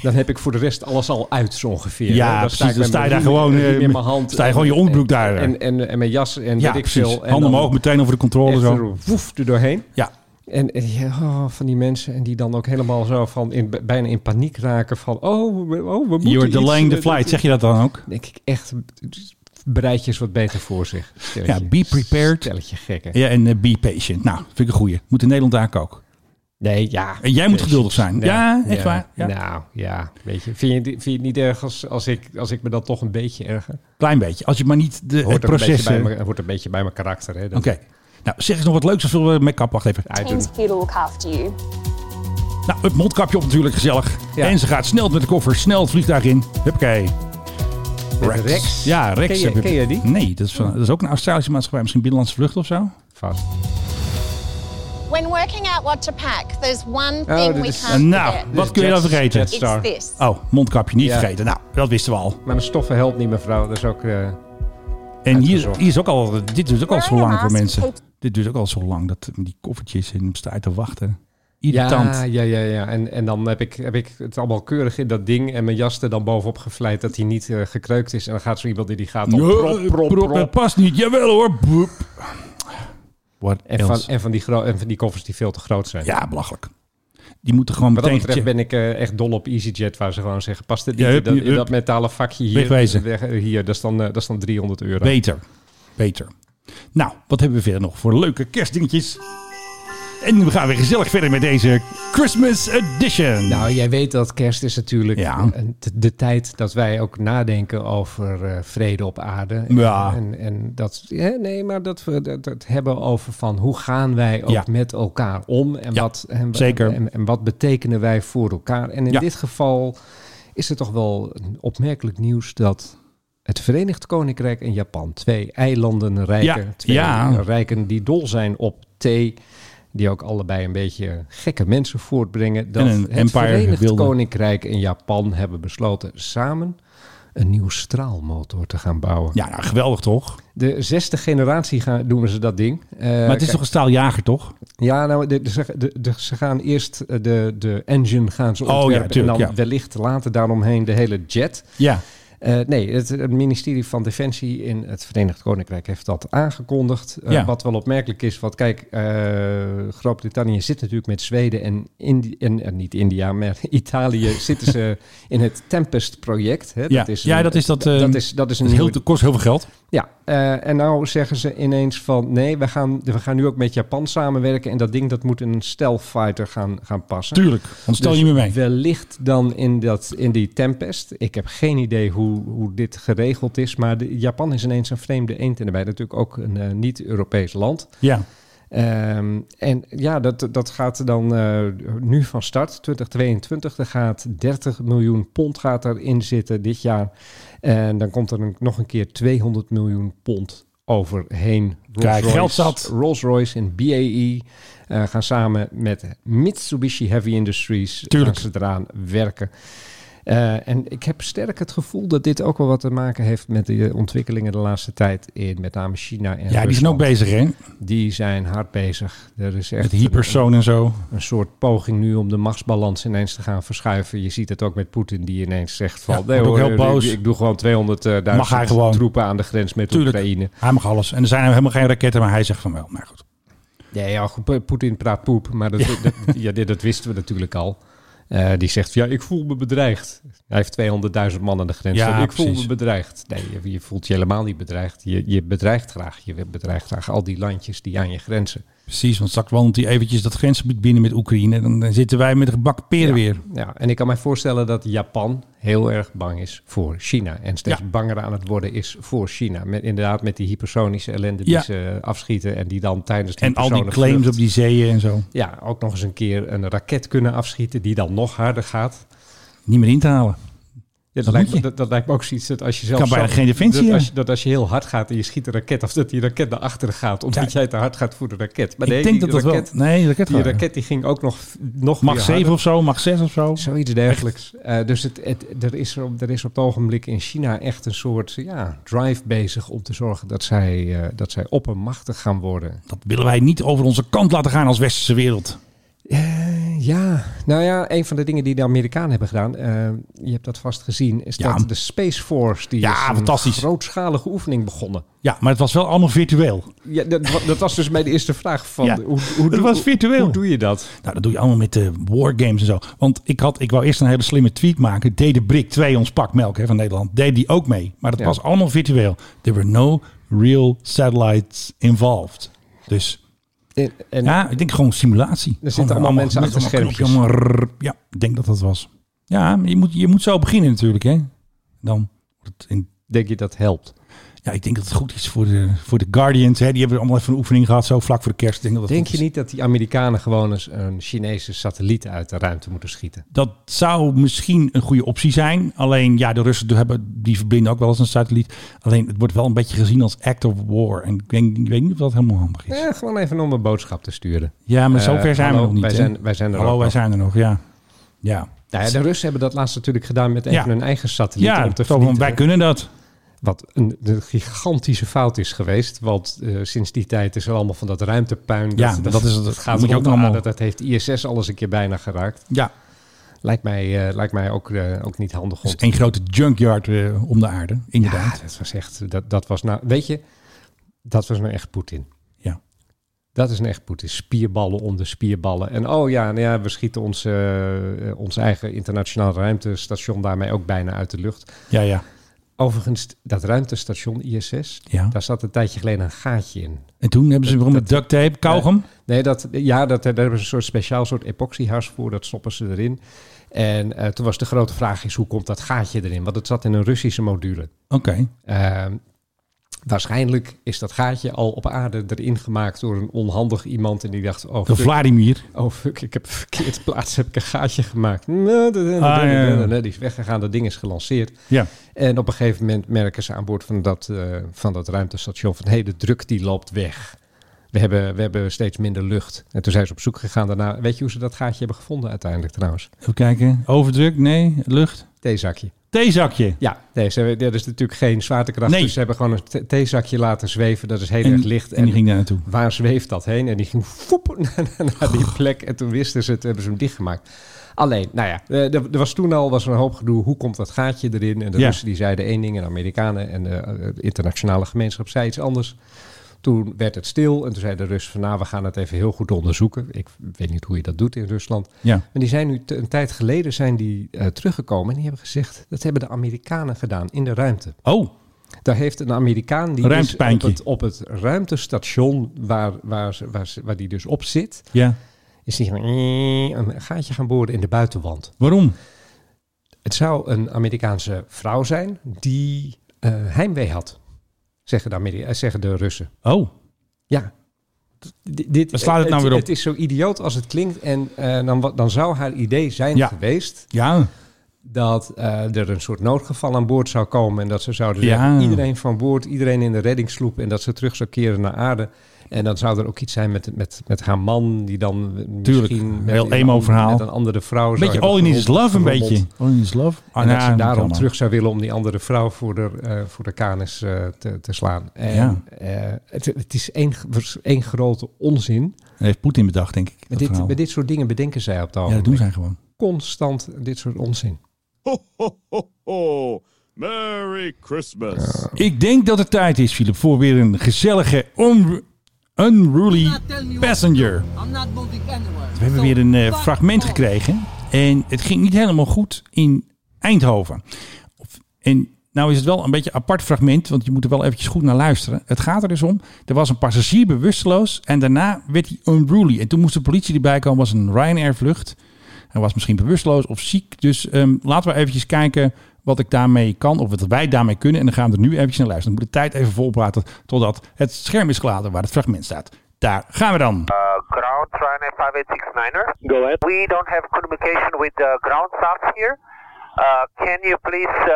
S2: dan heb ik voor de rest alles al uit zo ongeveer.
S1: Ja,
S2: hè.
S1: precies, dan
S2: met
S1: sta je
S2: mijn
S1: daar
S2: riem-
S1: gewoon, eh,
S2: riem in
S1: met-
S2: mijn hand.
S1: sta je
S2: en-
S1: gewoon je onderbroek daar, eh.
S2: En, en, en mijn jas en
S1: Ja,
S2: weet ik
S1: precies.
S2: veel. En
S1: Handen
S2: dan
S1: omhoog, meteen over de controle
S2: echt
S1: zo.
S2: er Woef, er doorheen.
S1: Ja.
S2: En, en ja, oh, van die mensen en die dan ook helemaal zo van in, bijna in paniek raken van, oh, we- oh we moeten
S1: You're
S2: iets,
S1: delaying the
S2: eh,
S1: flight. Zeg je dat dan ook?
S2: dat- denk ik echt, bereid je eens wat beter voor zich. Stelletje,
S1: Ja, be prepared.
S2: Stelletje gekken.
S1: Ja, en eh, be patient. Nou, vind ik een goeie. Moet in Nederland daar ook.
S2: Nee, ja.
S1: En jij moet geduldig zijn. Ja, echt waar. Ja.
S2: Nou, ja, weet je. Vind je, vind je het niet erg als, als, ik, als ik me dan toch een beetje erger?
S1: Klein beetje. Als je maar niet de, het
S2: Hoort, er een
S1: proces...
S2: beetje bij
S1: eh,
S2: mijn- hoort een beetje bij mijn karakter, hè.
S1: Oké. Nou, zeg eens nog wat leuks. Of zullen we make-up? Wacht even.
S9: teams here to look after you.
S1: Nou, het mondkapje op natuurlijk, gezellig.
S2: Ja.
S1: En ze gaat snel met de koffer, snel het vliegtuig in. Huppakee.
S2: Rex. Rex.
S1: Ja, Rex.
S2: Ken je-
S1: heb
S2: ken je die?
S1: Nee, dat is, van- dat is ook een Australische maatschappij. Misschien binnenlandse vlucht of zo. Eh,
S2: Vast.
S10: When working out what to pack, there's one
S2: Oh,
S10: thing
S2: dit
S10: we
S2: is-
S10: can't
S1: nou,
S10: forget.
S1: wat
S2: Dus
S1: kun je dan
S2: Jets-
S1: vergeten?
S2: Jetstar.
S10: It's this.
S1: Oh, mondkapje niet
S2: Ja.
S1: vergeten. Nou, dat wisten we al.
S2: Maar mijn stoffen helpt niet, mevrouw. Dat is ook... eh,
S1: En hier,
S2: Uitgezocht.
S1: hier is ook al, dit duurt ook al zo lang voor
S9: Maria's
S1: mensen.
S9: keep-
S1: Dit duurt ook al zo lang, dat die koffertjes en staat te wachten. Irritant.
S2: ja, ja, ja, ja. En, en dan heb ik, heb ik het allemaal keurig in dat ding en mijn jas er dan bovenop gevleid dat hij niet eh, gekreukt is. En dan gaat zo iemand in die gaat dan prop,
S1: Ja,
S2: prop, prop.
S1: dat past niet. Jawel hoor. Boep. What
S2: En, van,
S1: else?
S2: en, van die gro- en van die koffers die veel te groot zijn.
S1: Ja, belachelijk. Die moeten gewoon
S2: Wat dat
S1: meteen...
S2: betreft ben ik eh, echt dol op EasyJet, waar ze gewoon zeggen: past het niet
S1: Ja,
S2: in
S1: hup,
S2: dat, in
S1: hup.
S2: dat metalen vakje hier?
S1: Wegwezen.
S2: Weg- hier, dat is dan, eh, dat is dan 300 euro.
S1: Beter. Beter. Nou, wat hebben we verder nog voor leuke kerstdingetjes? En we gaan weer gezellig verder met deze Christmas Edition.
S2: nou, jij weet dat kerst is natuurlijk
S1: Hmm. Ja.
S2: een- de, de tijd dat wij ook nadenken over eh, vrede op aarde.
S1: Ja.
S2: En, en dat, ja, nee, maar dat we dat, dat hebben over van hoe gaan wij ook
S1: Ja.
S2: met elkaar om en,
S1: Ja,
S2: wat, en,
S1: zeker.
S2: en, en wat betekenen wij voor elkaar. En in
S1: Ja.
S2: dit geval is het toch wel een opmerkelijk nieuws dat het Verenigd Koninkrijk en Japan, twee eilanden rijken,
S1: Ja,
S2: twee
S1: ja.
S2: rijken die dol zijn op thee, die ook allebei een beetje gekke mensen voortbrengen, dat
S1: En een
S2: het
S1: empire
S2: Verenigd
S1: wilde.
S2: Koninkrijk en Japan hebben besloten samen een nieuw straalmotor te gaan bouwen.
S1: Ja, nou, geweldig toch?
S2: De zesde generatie gaan, doen ze dat ding. Eh,
S1: maar het is
S2: kijk,
S1: toch een staaljager, toch?
S2: ja, nou, de, de- ze- de- de- ze gaan eerst eh, de, de engine gaan ze
S1: Oh, ja,
S2: ontwerpen
S1: tuurlijk,
S2: en dan
S1: ja.
S2: wellicht later daaromheen de hele jet.
S1: Ja.
S2: Eh, nee, het, het ministerie van Defensie in het Verenigd Koninkrijk heeft dat aangekondigd. Eh,
S1: Ja.
S2: Wat wel opmerkelijk is, want kijk, eh, Groot-Brittannië zit natuurlijk met Zweden en, Indi en, en niet India, maar Italië zitten ze in het Tempest-project. hè.
S1: Ja. Ja, dat is dat, eh,
S2: dat, is, dat is een
S1: Het
S2: nieuwe-
S1: heel, kost heel veel geld.
S2: ja, eh, en nou zeggen ze ineens van nee, we gaan, we gaan nu ook met Japan samenwerken en dat ding dat moet in een stealth fighter gaan, gaan passen.
S1: Tuurlijk. Want stel
S2: Dus
S1: je niet meer mee.
S2: Wellicht dan in, dat, in die Tempest. Ik heb geen idee hoe, hoe dit geregeld is, maar de, Japan is ineens een vreemde eend in de bij. Natuurlijk ook een eh, niet-Europees land.
S1: Ja.
S2: Ehm, en ja, dat, dat gaat dan eh, nu van start, 2022. Er gaat 30 miljoen pond gaat erin zitten dit jaar. En dan komt er een- nog een keer 200 miljoen pond overheen.
S1: Kijk, geld zat.
S2: Rolls-Royce en BAE eh, gaan samen met Mitsubishi Heavy Industries
S1: Tuurlijk.
S2: gaan ze eraan werken. Eh, en ik heb sterk het gevoel dat dit ook wel wat te maken heeft met de ontwikkelingen de laatste tijd in met name China en
S1: Ja, die zijn
S2: Rusland.
S1: ook bezig, hè?
S2: Die zijn hard bezig. Er is echt
S1: Met hypersoon en zo.
S2: een soort poging nu om de machtsbalans ineens te gaan verschuiven. Je ziet het ook met Poetin die ineens zegt van...
S1: Ja, wordt ook heel
S2: ik-
S1: boos.
S2: Ik, doe gewoon 200.000
S1: Mag hij gewoon.
S2: troepen aan de grens met
S1: Tuurlijk.
S2: Oekraïne.
S1: Hij mag alles. En er zijn helemaal geen raketten, maar hij zegt van wel. Maar goed.
S2: Ja, ja goed, Po- Poetin praat poep, maar dat, dat, ja, dit, dat wisten we natuurlijk al. Eh, die zegt, ja, ik voel me bedreigd. Hij heeft 200.000 man aan de grens.
S1: Ja,
S2: ik voel me
S1: precies.
S2: bedreigd. Nee, je, je voelt je helemaal niet bedreigd. Je, je bedreigt graag. Je bedreigt graag al die landjes die aan je grenzen.
S1: Precies, want straks wandelt hij eventjes dat grensgebied binnen met Oekraïne. Dan, dan zitten wij met een gebak peren weer.
S2: Ja, en ik kan mij voorstellen dat Japan heel erg bang is voor China. En steeds
S1: Ja.
S2: banger aan het worden is voor China. Met, inderdaad, met die hypersonische ellende die
S1: Ja.
S2: ze afschieten. En die dan tijdens die
S1: En al die
S2: personenvlucht-
S1: claims op die zeeën en zo.
S2: Ja, ook nog eens een keer een raket kunnen afschieten die dan nog harder gaat.
S1: Niet meer in te halen.
S2: Ja,
S1: Dat
S2: dat, lijkt
S1: moet
S2: me,
S1: je.
S2: dat, dat lijkt me ook zoiets dat als je zelf...
S1: Kan bijna
S2: zo-
S1: geen defensie
S2: dat, als je,
S1: hebben.
S2: dat als je heel hard gaat en je schiet een raket... of dat die raket naar achteren gaat omdat
S1: Ja.
S2: jij te hard gaat voor de raket. Maar
S1: Ik
S2: nee,
S1: denk
S2: die
S1: dat dat wel...
S2: raket,
S1: Nee, de raket,
S2: Die
S1: gaat weg.
S2: raket die ging ook nog, nog
S1: Mag
S2: weer
S1: 7
S2: harder.
S1: of zo, mag 6 of zo.
S2: Zoiets dergelijks. Eh, dus het, het, er, is er, op- er is op het ogenblik in China echt een soort ja, drive bezig om te zorgen dat zij, eh, dat zij oppermachtig gaan worden.
S1: Dat willen wij niet over onze kant laten gaan als westerse wereld.
S2: Eh, ja, nou ja, een van de dingen die de Amerikanen hebben gedaan, eh, je hebt dat vast gezien, is
S1: Ja.
S2: dat de Space Force, die
S1: Ja,
S2: is een
S1: fantastisch.
S2: grootschalige oefening begonnen.
S1: Ja, maar het was wel allemaal virtueel.
S2: Ja, dat, wa- dat was dus mijn eerste vraag van,
S1: Ja,
S2: hoe, hoe,
S1: het
S2: doe-
S1: was virtueel.
S2: hoe doe je dat?
S1: Nou, dat doe je allemaal met de wargames en zo. Want ik, had, ik wou eerst een hele slimme tweet maken. Deed de Brik 2, ons pak melk hè, van Nederland, deed die ook mee. Maar dat
S2: Ja.
S1: was allemaal virtueel. There were no real satellites involved. Dus
S2: En, en
S1: ja, ik denk gewoon simulatie. Gewoon
S2: zitten allemaal mensen
S1: met
S2: achter
S1: allemaal
S2: schermpjes.
S1: knopjes, allemaal rrr. ja, ik denk dat dat was. Ja, maar je moet, je moet zo beginnen natuurlijk. Hè. Dan wordt het in
S2: denk je dat helpt?
S1: Ja, ik denk dat het goed is voor de, voor de Guardians. Hè. Die hebben allemaal even een oefening gehad, zo vlak voor de kerst. Ik Denk, dat het
S2: Denk
S1: goed
S2: je
S1: is.
S2: niet dat die Amerikanen gewoon eens een Chinese satelliet uit de ruimte moeten schieten?
S1: Dat zou misschien een goede optie zijn. Alleen, ja, de Russen hebben, die verblinden ook wel eens een satelliet. Alleen, het wordt wel een beetje gezien als act of war. En ik, denk, ik weet niet of dat helemaal handig is.
S2: Ja, Eh, gewoon even om een boodschap te sturen.
S1: Ja, maar
S2: Eh,
S1: zover zijn
S2: hallo,
S1: we nog niet.
S2: wij
S1: hè.
S2: zijn- wij zijn er
S1: hallo,
S2: ook
S1: wij
S2: nog.
S1: zijn er nog, ja. Ja,
S2: Nou ja, de Russen hebben dat laatst natuurlijk gedaan met even
S1: Ja.
S2: hun eigen satelliet.
S1: ja
S2: om te
S1: zo van,
S2: vernietigen.
S1: wij kunnen dat.
S2: Wat een, een gigantische fout is geweest. Want eh, sinds die tijd is er allemaal van dat ruimtepuin.
S1: Ja, dat is het. Moet
S2: gaat
S1: je ook
S2: rond de
S1: allemaal-
S2: aarde. Dat heeft ISS alles een keer bijna geraakt.
S1: Ja,
S2: Lijkt mij, eh, lijkt mij ook, eh, ook niet handig om
S1: dus één grote junkyard eh, om de aarde, inderdaad.
S2: Ja, Ah, dat was echt, dat, dat was nou, weet je, dat was nou echt Poetin.
S1: Ja.
S2: Dat is nou echt Poetin. Spierballen onder spierballen. En oh ja, nou ja we schieten ons, eh, eh, ons eigen internationaal ruimtestation daarmee ook bijna uit de lucht.
S1: Ja, ja.
S2: Overigens, dat ruimtestation ISS,
S1: ja.
S2: daar zat een tijdje geleden een gaatje in.
S1: En toen hebben ze weer met duct tape, kauwgom.
S2: Nee, dat, ja, dat, daar hebben ze een soort speciaal soort epoxyhars voor. Dat stoppen ze erin. En eh, toen was de grote vraag is, hoe komt dat gaatje erin? Want het zat in een Russische module.
S1: Oké.
S2: Ehm, waarschijnlijk is dat gaatje al op aarde erin gemaakt door een onhandig iemand. En die dacht, oh
S1: De
S2: fuck,
S1: Vladimir.
S2: oh, fuck ik heb verkeerd plaats, heb ik een gaatje gemaakt. Nou, Nee, nee, nee,
S1: Ah,
S2: nee,
S1: ja, ja.
S2: nee, nee, Die is weggegaan, dat ding is gelanceerd.
S1: Ja.
S2: En op een gegeven moment merken ze aan boord van dat, eh, van dat ruimtestation van... hé, hey, de druk die loopt weg. We hebben, we hebben steeds minder lucht. En toen zijn ze op zoek gegaan daarna. Weet je hoe ze dat gaatje hebben gevonden uiteindelijk trouwens?
S1: Even kijken. Overdruk? Nee. Lucht?
S2: Theezakje.
S1: Theezakje.
S2: Ja, nee, ze hebben, er is natuurlijk geen zwaartekracht.
S1: Nee.
S2: Dus ze hebben gewoon een the- theezakje laten zweven. Dat is heel
S1: En-
S2: erg licht.
S1: En die ging daar naartoe.
S2: waar zweeft dat heen? En die ging foep naar, naar die plek. En toen wisten ze het, hebben ze hem dichtgemaakt. Alleen, nou ja, eh, er, er was toen al was er een hoop gedoe. Hoe komt dat gaatje erin? En de
S1: Ja.
S2: Russen die zeiden één ding en de Amerikanen en de eh, internationale gemeenschap zei iets anders. Toen werd het stil en toen zei de Russen van nou, we gaan het even heel goed onderzoeken. Ik weet niet hoe je dat doet in Rusland.
S1: Ja.
S2: En die zijn nu te- een tijd geleden zijn die, eh, teruggekomen en die hebben gezegd... dat hebben de Amerikanen gedaan in de ruimte.
S1: Oh,
S2: Daar heeft een Amerikaan die is op
S1: Ruimtepijntje.
S2: het, op het ruimtestation waar, waar, ze- waar, ze- waar die dus op zit,
S1: ja.
S2: is die gaan- een gaatje gaan boren in de buitenwand.
S1: Waarom?
S2: Het zou een Amerikaanse vrouw zijn die eh, heimwee had, zeggen de, Ameri- eh, zeggen de Russen.
S1: Oh,
S2: Ja. D- dit,
S1: Waar slaat het nou weer op?
S2: Het is zo idioot als het klinkt. En eh, dan, wa- dan zou haar idee zijn
S1: Ja.
S2: geweest
S1: ja.
S2: dat eh, er een soort noodgeval aan boord zou komen. En dat ze zouden
S1: Ja.
S2: zeggen, iedereen van boord, iedereen in de reddingssloep. En dat ze terug zou keren naar aarde. En dan zou er ook iets zijn met, met, met haar man, die dan
S1: Tuurlijk,
S2: misschien met,
S1: heel
S2: iemand-
S1: emo-verhaal.
S2: met een andere vrouw
S1: Een beetje
S2: zou hebben
S1: all in is
S2: gerommeld-
S1: love, een
S2: gerommeld.
S1: beetje. All in is love. Ah,
S2: en
S1: nou,
S2: dat ze
S1: niet
S2: daarom
S1: helemaal.
S2: terug zou willen om die andere vrouw voor de, eh, voor de kanis eh, te, te slaan. En,
S1: Ja.
S2: eh, het, het is één, één grote onzin.
S1: Dat heeft Poetin bedacht, denk ik.
S2: Met
S1: dat
S2: dit,
S1: verhaal.
S2: met dit soort dingen bedenken zij op de
S1: ja, dat doen zij gewoon.
S2: Constant dit soort onzin.
S4: Ho, ho, ho, ho. Merry Christmas.
S1: Ik denk dat het tijd is, Philip, voor weer een gezellige un- unruly passenger. We hebben weer een eh, fragment gekregen. En het ging niet helemaal goed in Eindhoven. Of- En nou is het wel een beetje een apart fragment, want je moet er wel eventjes goed naar luisteren. Het gaat er dus om, er was een passagier bewusteloos en daarna werd hij unruly. En toen moest de politie erbij komen, was een Ryanair vlucht. Hij was misschien bewusteloos of ziek. Dus ehm, laten we eventjes kijken wat ik daarmee kan of wat wij daarmee kunnen. En dan gaan we er nu eventjes naar luisteren. Dan moet de tijd even volpraten totdat het scherm is geladen waar het fragment staat. Daar gaan we dan.
S11: uh, ground Ryanair 5869er. Go ahead. We don't have communication with the ground staff here. Uh, can you please uh,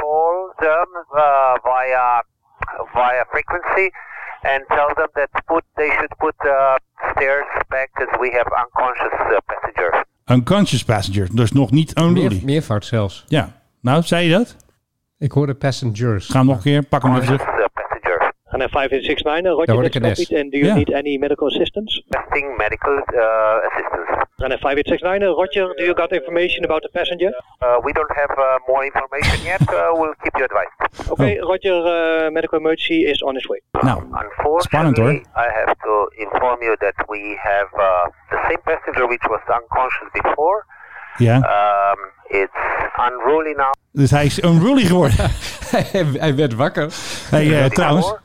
S11: call them uh, via via frequency and tell them that put they should put uh, stairs back because we have unconscious uh, passengers.
S1: Unconscious passenger, dus nog niet unruly.
S2: Meer, meervoud zelfs.
S1: Ja, nou, zei je dat?
S2: Ik hoorde passengers.
S1: Ga hem nog een keer, pak hem even terug.
S11: Uh, passengers.
S12: And a 5869, uh,
S2: Daar
S12: roger,
S2: word
S12: that's
S2: ik een S.
S12: copied. And do you
S1: Yeah.
S12: need any medical assistance?
S11: Testing medical uh, assistance.
S12: And a 5869, uh, roger, do you got information about the passenger?
S11: Uh, we don't have uh, more information yet. Uh, we'll keep you advised.
S12: Okay, roger, uh, medical emergency is on its way.
S1: Nou, spannend hoor.
S11: Unfortunately, I have to inform you that we have uh, the same passenger which was unconscious before.
S1: Ja,
S11: Um, it's unruly now.
S1: dus hij is unruly geworden.
S2: hij, hij werd wakker.
S1: Hey, eh,
S11: Unruly
S1: trouwens,
S11: now.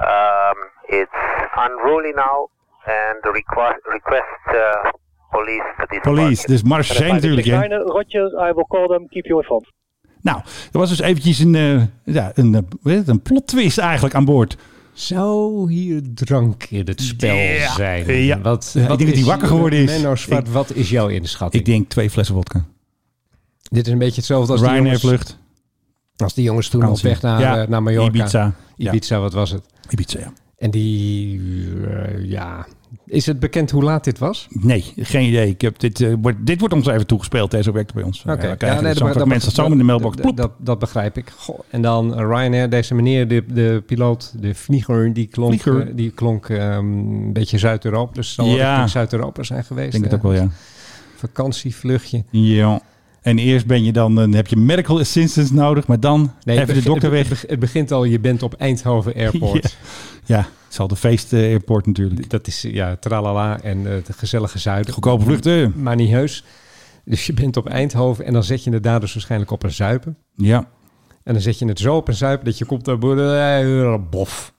S11: Um, it's unruly now and request, request uh, police to this
S1: police, dus Mars zijn natuurlijk. Hè.
S12: 5869, uh, roger, I will call them, keep you informed.
S1: Nou, er was dus eventjes een, eh, ja, een, eh, hoe heet het, een plot twist eigenlijk aan boord.
S2: Zou hier drank in het spel
S1: Ja.
S2: zijn?
S1: Ja.
S2: Wat,
S1: Ik denk
S2: is
S1: dat hij wakker geworden is.
S2: Menno Zwart,
S1: Ik-
S2: wat is jouw inschatting?
S1: Ik denk twee flessen wodka.
S2: Dit is een beetje hetzelfde als die,
S1: Ryanair
S2: jongens,
S1: vlucht.
S2: als die jongens toen op
S1: vakantie.
S2: weg naar,
S1: Ja,
S2: eh, naar Mallorca.
S1: Ibiza. Ja.
S2: Ibiza, wat was het?
S1: Ibiza, ja.
S2: En die, eh, ja... Is het bekend hoe laat dit was?
S1: Nee, geen idee. Ik heb dit, eh, wordt, dit wordt ons even toegespeeld, deze werkt bij ons.
S2: Oké.
S1: Ja, we krijgen dus zo'n
S2: be-
S1: fragment, dat
S2: be-
S1: zo in de mailbox.
S2: dat-
S1: Ploep.
S2: Dat, dat begrijp ik. Goh, en dan eh, Ryanair, deze meneer, de, de piloot, de vlieger, die klonk,
S1: Vlieger.
S2: eh, Die klonk ehm, een beetje Zuid-Europa. Dus zal wel
S1: Ja.
S2: richting Zuid-Europa zijn geweest.
S1: Ik denk het ook
S2: eh.
S1: wel, ja.
S2: Vakantievluchtje.
S1: Ja. En eerst ben je dan, dan heb je medical assistance nodig, maar dan
S2: het
S1: even de
S2: begint-
S1: dokter
S2: het-
S1: weg.
S2: Het, beg- het begint al, je bent op Eindhoven Airport.
S1: Ja, het is al de feest eh, airport natuurlijk.
S2: Dat is, ja, tralala en eh, het gezellige zuiden.
S1: Goedkope vluchten.
S2: Maar niet heus. Dus je bent op Eindhoven en dan zet je het daar dus waarschijnlijk op een zuipen.
S1: Ja,
S2: En dan zet je het zo op een zuipen dat je komt daar boven. eh, Bof.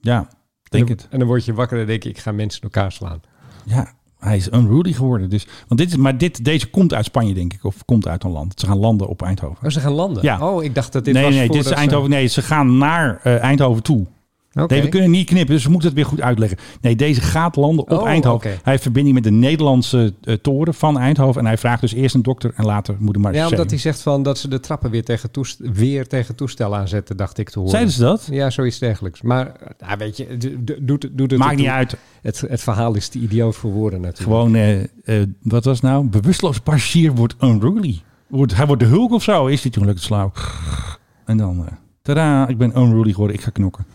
S1: ja, denk
S2: en,
S1: het.
S2: dan, en dan word je wakker en denk ik, ik ga mensen in elkaar slaan.
S1: Ja, hij is unruly geworden. Dus, want dit is, maar dit, deze komt uit Spanje, denk ik. Of komt uit een land. Ze gaan landen op Eindhoven.
S2: Oh, ze gaan landen?
S1: Ja.
S2: Oh, ik dacht dat dit
S1: nee,
S2: was
S1: nee, dit
S2: voordat
S1: is
S2: ze-
S1: Eindhoven. Nee, ze gaan naar eh, Eindhoven toe.
S2: Oké.
S1: Nee, we kunnen niet knippen, dus we moeten het weer goed uitleggen. Nee, deze gaat landen op
S2: Oh,
S1: Eindhoven.
S2: oké.
S1: Hij heeft verbinding met de Nederlandse eh, toren van Eindhoven. En hij vraagt dus eerst een dokter en later moeder maar
S2: Ja, omdat hij zegt van dat ze de trappen weer tegen, toest weer tegen toestel aanzetten, dacht ik te horen.
S1: Zeiden ze dat?
S2: Ja, zoiets dergelijks. Maar nou, weet je, d- d- doet, het- doet het...
S1: Maakt
S2: het-
S1: niet uit.
S2: Het, het verhaal is te idioot voor woorden natuurlijk.
S1: Gewoon, eh, eh, wat was het nou? Bewusteloos passagier wordt unruly. Wordt, hij wordt de hulk of zo. Is dit toen lukt slauw? En dan, eh, tada, ik ben unruly geworden. Ik ga knokken.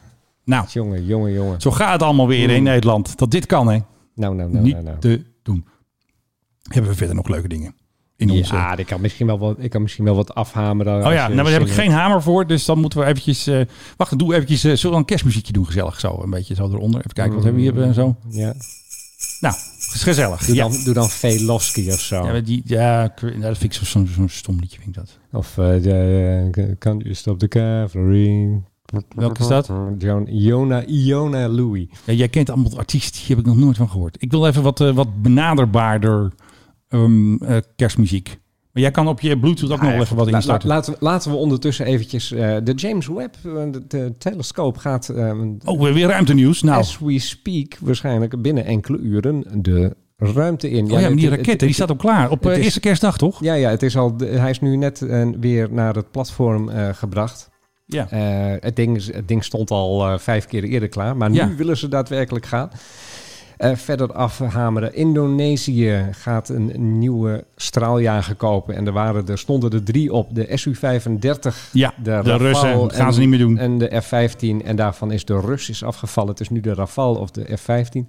S1: Nou,
S2: Jongen, jongen, jongen.
S1: zo gaat het allemaal weer in Nederland. Dat dit kan, hè?
S2: Nou, nou, Hmm. nou,
S1: niet
S2: nou, nou.
S1: te doen. Hebben we verder nog leuke dingen in onze...
S2: Ja, ik kan misschien wel wat, ik kan misschien wel wat afhameren.
S1: Oh ja, nou, maar daar heb ik geen hamer voor, dus dan moeten we eventjes... eh, wacht, doe eventjes... eh, zullen we een kerstmuziekje doen gezellig zo? Een beetje zo eronder. Even kijken, wat hebben we hier eh, zo?
S2: Ja.
S1: Nou, is gezellig.
S2: Hmm. Doe,
S1: ja.
S2: Dan, doe dan Veloski of zo.
S1: Ja, maar die, ja, ik weet- nou, dat vind ik zo- zo'n zo'n stom liedje, vind ik dat.
S2: Of eh, de- eh, kan je stop de cavalry?
S1: Welke is dat?
S2: John, Iona, Iona Louis.
S1: Ja, jij kent allemaal artiesten, die heb ik nog nooit van gehoord. Ik wil even wat, eh, wat benaderbaarder ehm, eh, kerstmuziek. Maar jij kan op je Bluetooth ook nog wel even wat
S2: La- la-
S1: instarten.
S2: laten, we- laten we ondertussen eventjes eh, de James Webb, eh, de, de telescoop gaat eh,
S1: Oh, weer- weer ruimte nieuws. Nou,
S2: as we speak waarschijnlijk binnen enkele uren de ruimte in.
S1: oh ja, maar die
S2: het- het-
S1: raket, hè, die staat al klaar. Op
S2: het
S1: eh,
S2: is-
S1: eerste kerstdag, toch?
S2: Ja, ja, het is al, de- hij is nu net eh, weer naar het platform eh, gebracht.
S1: Ja.
S2: Eh, het, ding, is- het ding stond al eh, vijf keer eerder klaar, maar nu
S1: Ja.
S2: willen ze daadwerkelijk gaan. Eh, verder afhameren. Indonesië gaat een nieuwe straaljager kopen. En er, waren, er stonden er drie op. De SU-35,
S1: Ja, de
S2: Rafale
S1: Russen gaan
S2: en-
S1: ze niet meer doen.
S2: En de F-15. En daarvan is de Rus is afgevallen. Het is nu de Rafale of de F-15.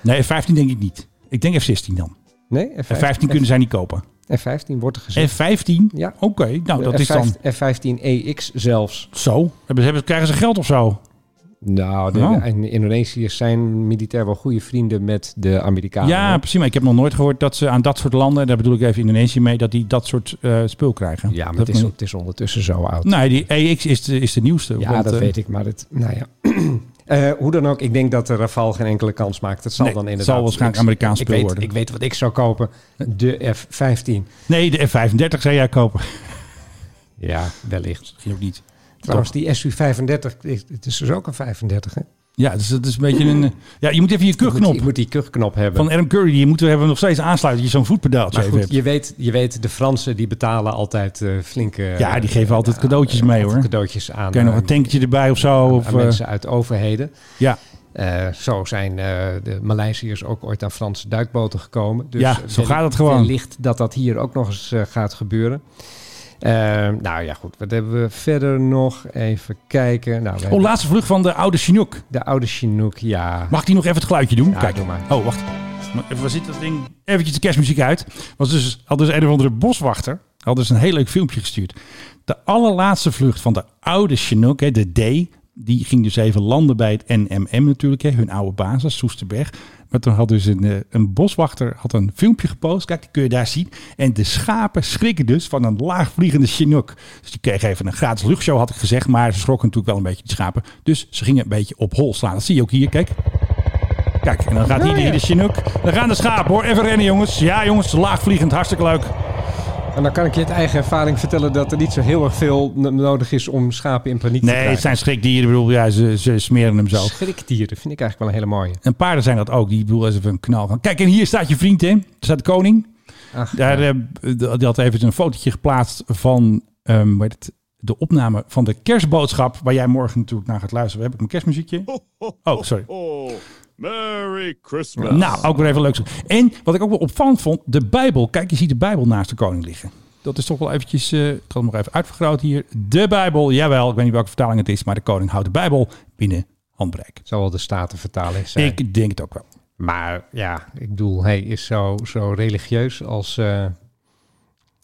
S1: Nee, F-15 denk ik niet. Ik denk F-16 dan.
S2: Nee,
S1: F-15, kunnen zij niet kopen.
S2: F-15 wordt er gezegd.
S1: F-15?
S2: Ja.
S1: Oké, nou dat is dan...
S2: F-15EX E zelfs.
S1: Zo, hebben, hebben, krijgen ze geld of zo?
S2: Nou, de,
S1: Oh.
S2: en de Indonesiërs zijn militair wel goede vrienden met de Amerikanen.
S1: Ja,
S2: hè?
S1: precies. Maar ik heb nog nooit gehoord dat ze aan dat soort landen, en daar bedoel ik even Indonesië mee, dat die dat soort eh, spul krijgen.
S2: ja maar
S1: Dat
S2: het is,
S1: moet-
S2: het is ondertussen zo oud.
S1: Nee, die EX is de, is de nieuwste.
S2: ja,
S1: want,
S2: dat
S1: eh,
S2: weet ik, maar het, nou ja. Eh, hoe dan ook, ik denk dat de Rafale geen enkele kans maakt. Het zal
S1: Nee,
S2: dan
S1: het
S2: inderdaad...
S1: zal waarschijnlijk
S2: ik-
S1: Amerikaans
S2: ik
S1: spul
S2: weet,
S1: worden.
S2: Ik weet wat ik zou kopen. De F-15.
S1: Nee, de F-35 zou jij kopen.
S2: Ja, wellicht.
S1: Misschien ook niet.
S2: Trouwens, die SU-35, is- het is dus ook een 35, hè?
S1: Ja, dus dat is een beetje een... eh, Ja, je moet even je
S2: Moet, je
S1: kuchknop
S2: moet die kuchknop hebben.
S1: van Adam Curry, die moeten we hebben nog steeds aansluiten. Dat je zo'n voetpedaaltje
S2: maar
S1: even
S2: goed,
S1: hebt.
S2: je weet, je weet, de Fransen die betalen altijd eh, flinke... eh,
S1: Ja, die geven altijd cadeautjes mee hoor.
S2: cadeautjes aan...
S1: Kan je nog
S2: eh,
S1: een tankje erbij of zo? Of,
S2: aan
S1: eh,
S2: mensen uit overheden.
S1: Ja.
S2: Eh, zo zijn eh, de Maleisiërs ook ooit aan Franse duikboten gekomen. Dus
S1: Ja,
S2: eh,
S1: zo gaat het
S2: welli-
S1: gewoon.
S2: Wellicht dat dat hier ook nog eens eh, gaat gebeuren. Eh, nou ja, goed. Wat hebben we verder nog? Even kijken. Nou, we
S1: Oh,
S2: hebben
S1: laatste vlucht van de oude Chinook.
S2: de oude Chinook, ja.
S1: Mag die nog even het geluidje doen?
S2: Ja,
S1: Kijk.
S2: doe maar.
S1: Oh, wacht. Maar Even, waar zit dat ding? Eventjes de kerstmuziek uit. Was dus, had dus een of andere boswachter. Had dus een heel leuk filmpje gestuurd. De allerlaatste vlucht van de oude Chinook, hè, de D. Die ging dus even landen bij het NMM natuurlijk. Hè, hun oude basis, Soesterberg. Maar toen had dus een, eh, een boswachter had een filmpje gepost. Kijk, die kun je daar zien. En de schapen schrikken dus van een laagvliegende Chinook. Dus die kregen even een gratis luchtshow, had ik gezegd. Maar ze schrokken natuurlijk wel een beetje, die schapen. Dus ze gingen een beetje op hol slaan. Dat zie je ook hier, kijk. Kijk, en dan gaat hier de- de Chinook. Dan gaan de schapen hoor. Even rennen jongens. Ja jongens, laagvliegend. Hartstikke leuk.
S2: En dan kan ik je uit eigen ervaring vertellen dat er niet zo heel erg veel n- nodig is om schapen in paniek te
S1: Nee, het
S2: krijgen.
S1: zijn schrikdieren. Ik bedoel, ja, ze, ze smeren hem zo.
S2: Schrikdieren vind ik eigenlijk wel een hele mooie.
S1: En paarden zijn dat ook. Die ik bedoel, als even een knal gaan. Kijk, en hier staat je vriend in. Daar staat de koning.
S2: Ach,
S1: Daar, eh, d- die had even een fotootje geplaatst van ehm, hoe heet het, de opname van de kerstboodschap. Waar jij morgen natuurlijk naar gaat luisteren. Heb ik mijn kerstmuziekje? Oh, sorry.
S4: Oh, Merry Christmas.
S1: Nou, ook weer even leuk. zo. En wat ik ook wel opvallend vond, de Bijbel. Kijk, je ziet de Bijbel naast de koning liggen. Dat is toch wel eventjes, eh, ik had hem nog even uitvergroten hier. De Bijbel, jawel, ik weet niet welke vertaling het is, maar de koning houdt de Bijbel binnen handbereik.
S2: Zou wel de statenvertaling zijn.
S1: Ik denk het ook wel.
S2: Maar ja, ik bedoel, hij is zo, zo religieus als eh,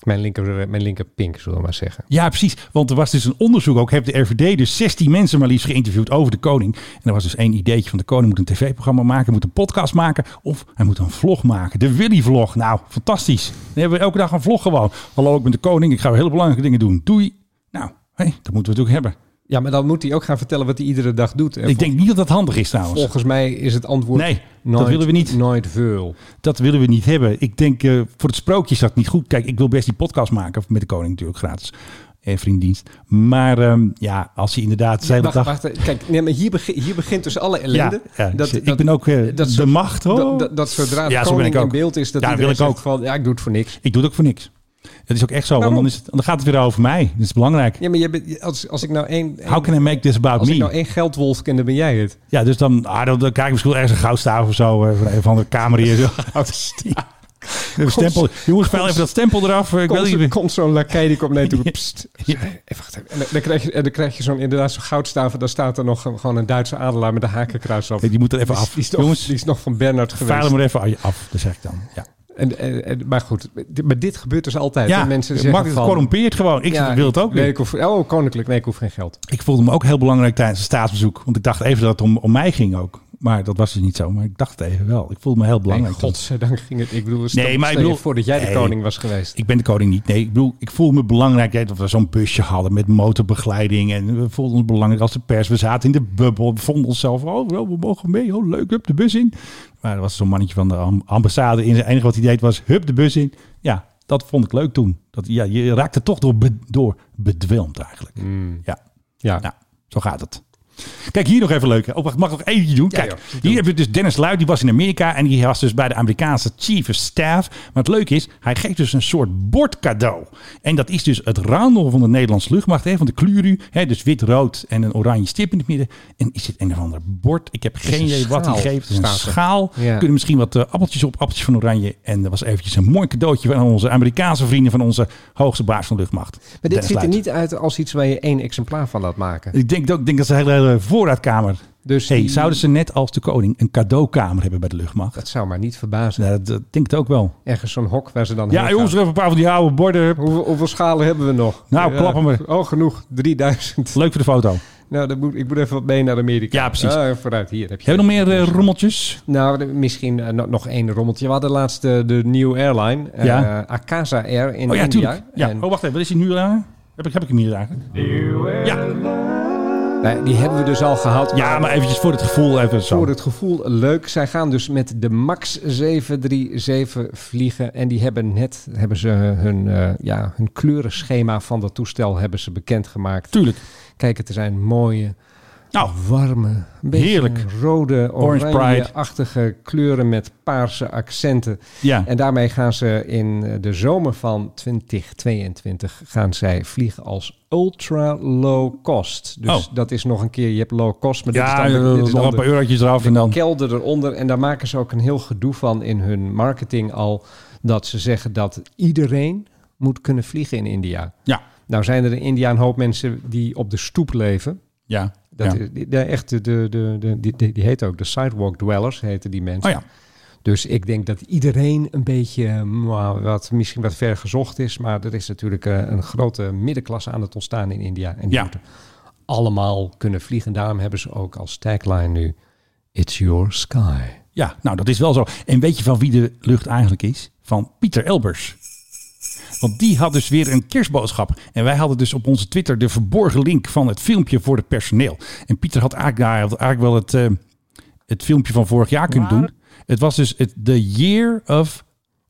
S2: mijn, linker, mijn linker pink, zullen we maar zeggen.
S1: Ja, precies. Want er was dus een onderzoek ook. Heeft de RVD dus 16 mensen maar liefst geïnterviewd over de koning. En er was dus één ideetje van de koning moet een tv-programma maken, moet een podcast maken of hij moet een vlog maken. De Willy-vlog. Nou, fantastisch. Dan hebben we elke dag een vlog gewoon. Hallo, ik ben de koning. Ik ga weer hele belangrijke dingen doen. Doei. Nou, hé, dat moeten we natuurlijk hebben.
S2: Ja, maar dan moet hij ook gaan vertellen wat hij iedere dag doet. En
S1: Ik denk niet dat dat handig is trouwens.
S2: Volgens mij is het antwoord
S1: Nee, dat
S2: nooit,
S1: willen we niet.
S2: Nooit veel.
S1: Dat willen we niet hebben. Ik denk, eh, voor het sprookje is dat niet goed. Kijk, ik wil best die podcast maken. Met de koning natuurlijk gratis. En vriendendienst. Maar ehm, ja, als hij inderdaad de hele
S2: Wacht,
S1: dag...
S2: wacht, kijk, nee, maar hier, begin- hier begint dus alle ellende.
S1: Ja, ja, ik ben ook, eh, de
S2: zo-
S1: macht, hoor.
S2: Dat, dat, dat zodra de
S1: Ja, zo ben
S2: koning
S1: ik
S2: in
S1: ook.
S2: beeld is, dat
S1: Ja,
S2: iedereen
S1: wil ik
S2: zegt van, ja, ik doe het voor niks.
S1: Ik doe het ook voor niks. Dat is ook echt zo.
S2: Waarom?
S1: Want dan, is het, dan gaat het weer over mij. Dat is belangrijk.
S2: Ja, maar je bent, als, als ik nou één...
S1: How can I make this about
S2: Als
S1: me?
S2: ik nou één geldwolf ken, dan ben jij het.
S1: Ja, dus dan, ah, dan, dan krijg ik misschien wel ergens een goudstaaf of zo. eh, Van een of andere kamer hier. Zo. Een stempel. Jongens, spel even dat stempel eraf. eh, Ik
S2: komt,
S1: weet
S2: zo,
S1: niet.
S2: komt zo'n lakij die komt naar je toe. Pst. Eh, Even wachten. En dan- dan krijg je, en dan krijg je zo'n inderdaad zo'n goudstaaf. en Dan staat er nog gewoon een Duitse adelaar met een hakenkruis op.
S1: Hey, Die moet er even
S2: Die is-
S1: af.
S2: Die is, nog,
S1: Jongens,
S2: die is nog van Bernard
S1: vuil
S2: geweest.
S1: hem er even aan- af. Dat zeg ik dan. Ja.
S2: En, en, en- maar goed, dit- maar dit gebeurt dus altijd.
S1: Ja,
S2: hè? mensen zeggen
S1: makkelijk
S2: van,
S1: corrompeert gewoon. Ik
S2: ja,
S1: wil het ook
S2: nee,
S1: niet.
S2: ik hoef, Oh, koninklijk. Nee, ik hoef geen geld.
S1: Ik voelde me ook heel belangrijk tijdens het staatsbezoek. Want ik dacht even dat het om, om mij ging ook. Maar dat was dus niet zo. Maar ik dacht het even wel. Ik voelde me heel belangrijk.
S2: Nee, godzijdank ging het. Ik bedoel,
S1: Nee,
S2: nee,
S1: maar
S2: maar
S1: ik bedoel-
S2: voordat jij
S1: Nee.
S2: de koning was geweest.
S1: Ik ben de koning niet. Nee, ik bedoel, ik voel me belangrijk. hè, Dat we zo'n busje hadden met motorbegeleiding. En we voelden ons belangrijk als de pers. We zaten in de bubbel. We vonden onszelf, oh, wel, we mogen mee. Oh, leuk, hup de bus in. Maar er was zo'n mannetje van de am- ambassade in. Het enige wat hij deed was, hup de bus in. Ja, dat vond ik leuk toen. Dat, ja, je raakte toch door, be- door bedwelmd eigenlijk. Ja,
S2: Ja.
S1: nou, zo gaat het. Kijk, hier nog even leuk. hè. Oh, wacht, mag ik nog eentje doen? Kijk, hier heb je dus Dennis Luid. Die was in Amerika en die was dus bij de Amerikaanse Chief of Staff. Maar het leuke is, hij geeft dus een soort bordcadeau. En dat is dus het raandel van de Nederlandse luchtmacht. Hè, van de Kluru. Hè, dus wit, rood en een oranje stip in het midden. En is dit een of ander bord? Ik heb
S2: is
S1: geen
S2: een
S1: idee wat hij
S2: schaal,
S1: geeft. Het is een
S2: staat er.
S1: schaal.
S2: Ja.
S1: Kunnen misschien wat eh, appeltjes op, appeltjes van oranje. En dat was eventjes een mooi cadeautje van onze Amerikaanse vrienden. Van onze hoogste baas van de luchtmacht.
S2: Maar dit
S1: Dennis
S2: ziet er
S1: Luit.
S2: niet uit als iets waar je één exemplaar van laat maken.
S1: Ik denk, dat- ik denk dat ze een hele, hele voorraadkamer. Dus hey, zouden ze net als de koning een cadeaukamer hebben bij de luchtmacht? Dat
S2: zou maar niet verbazen.
S1: dat, dat denk ik ook wel.
S2: Ergens zo'n hok waar ze dan
S1: Ja,
S2: heen
S1: jongens,
S2: gaan.
S1: er even een paar van die oude borden.
S2: Hoeveel, hoeveel schalen hebben we nog?
S1: Nou,
S2: Ja,
S1: klappen we.
S2: Oh, genoeg. 3000.
S1: Leuk voor de foto.
S2: Nou, dan moet, ik moet even wat mee naar Amerika. Ja,
S1: precies.
S2: vooruit, hier heb je.
S1: Hebben we nog meer eh, rommeltjes?
S2: Nou, de- misschien eh, no- nog één rommeltje. We hadden laatst eh, de New Airline, eh,
S1: Ja.
S2: Akasa Air in
S1: oh ja,
S2: India.
S1: tuurlijk. Ja. Oh, wacht even. Wat is die nu aan? Heb ik, heb ik hem hier eigenlijk?
S2: Nou, die hebben we dus al gehad.
S1: Ja, maar eventjes voor het gevoel even zo.
S2: Voor het gevoel leuk. Zij gaan dus met de MAX 737 vliegen. En die hebben net hebben ze hun, eh, ja, hun kleurenschema van dat toestel hebben ze bekendgemaakt.
S1: Tuurlijk.
S2: Kijk, het zijn mooie,
S1: nou,
S2: warme, een beetje
S1: Heerlijk.
S2: rode,
S1: Orange Pride.
S2: oranje-achtige kleuren met paarse accenten.
S1: Ja.
S2: En daarmee gaan ze in eh, de zomer van 2022 gaan zij vliegen als ultra low cost. Dus
S1: Oh.
S2: dat is nog een keer, je hebt low cost, maar
S1: Ja,
S2: dit is dan, de- dit
S1: eh,
S2: is dan
S1: nog een
S2: de-
S1: paar eurotjes eraf en
S2: de
S1: dan-
S2: kelder eronder. En daar maken ze ook een heel gedoe van in hun marketing al. Dat ze zeggen dat iedereen moet kunnen vliegen in India.
S1: Ja.
S2: Nou zijn er in India een hoop mensen die op de stoep leven.
S1: Ja.
S2: Dat
S1: ja.
S2: is- die, die- echt de, de, de, de- die, die, die heet ook de sidewalk dwellers, heten die mensen.
S1: Oh ja.
S2: Dus ik denk dat iedereen een beetje, eh, mwah, wat misschien wat ver gezocht is, maar er is natuurlijk eh, een grote middenklasse aan het ontstaan in India. En die
S1: Ja.
S2: moeten allemaal kunnen vliegen. Daarom hebben ze ook als tagline nu, It's your sky.
S1: Ja, nou dat is wel zo. En weet je van wie de lucht eigenlijk is? Van Pieter Elbers. Want die had dus weer een kerstboodschap. En wij hadden dus op onze Twitter de verborgen link van het filmpje voor het personeel. En Pieter had eigenlijk, nou, hij had eigenlijk wel het, eh, het filmpje van vorig jaar kunnen doen. Het was dus het The Year of...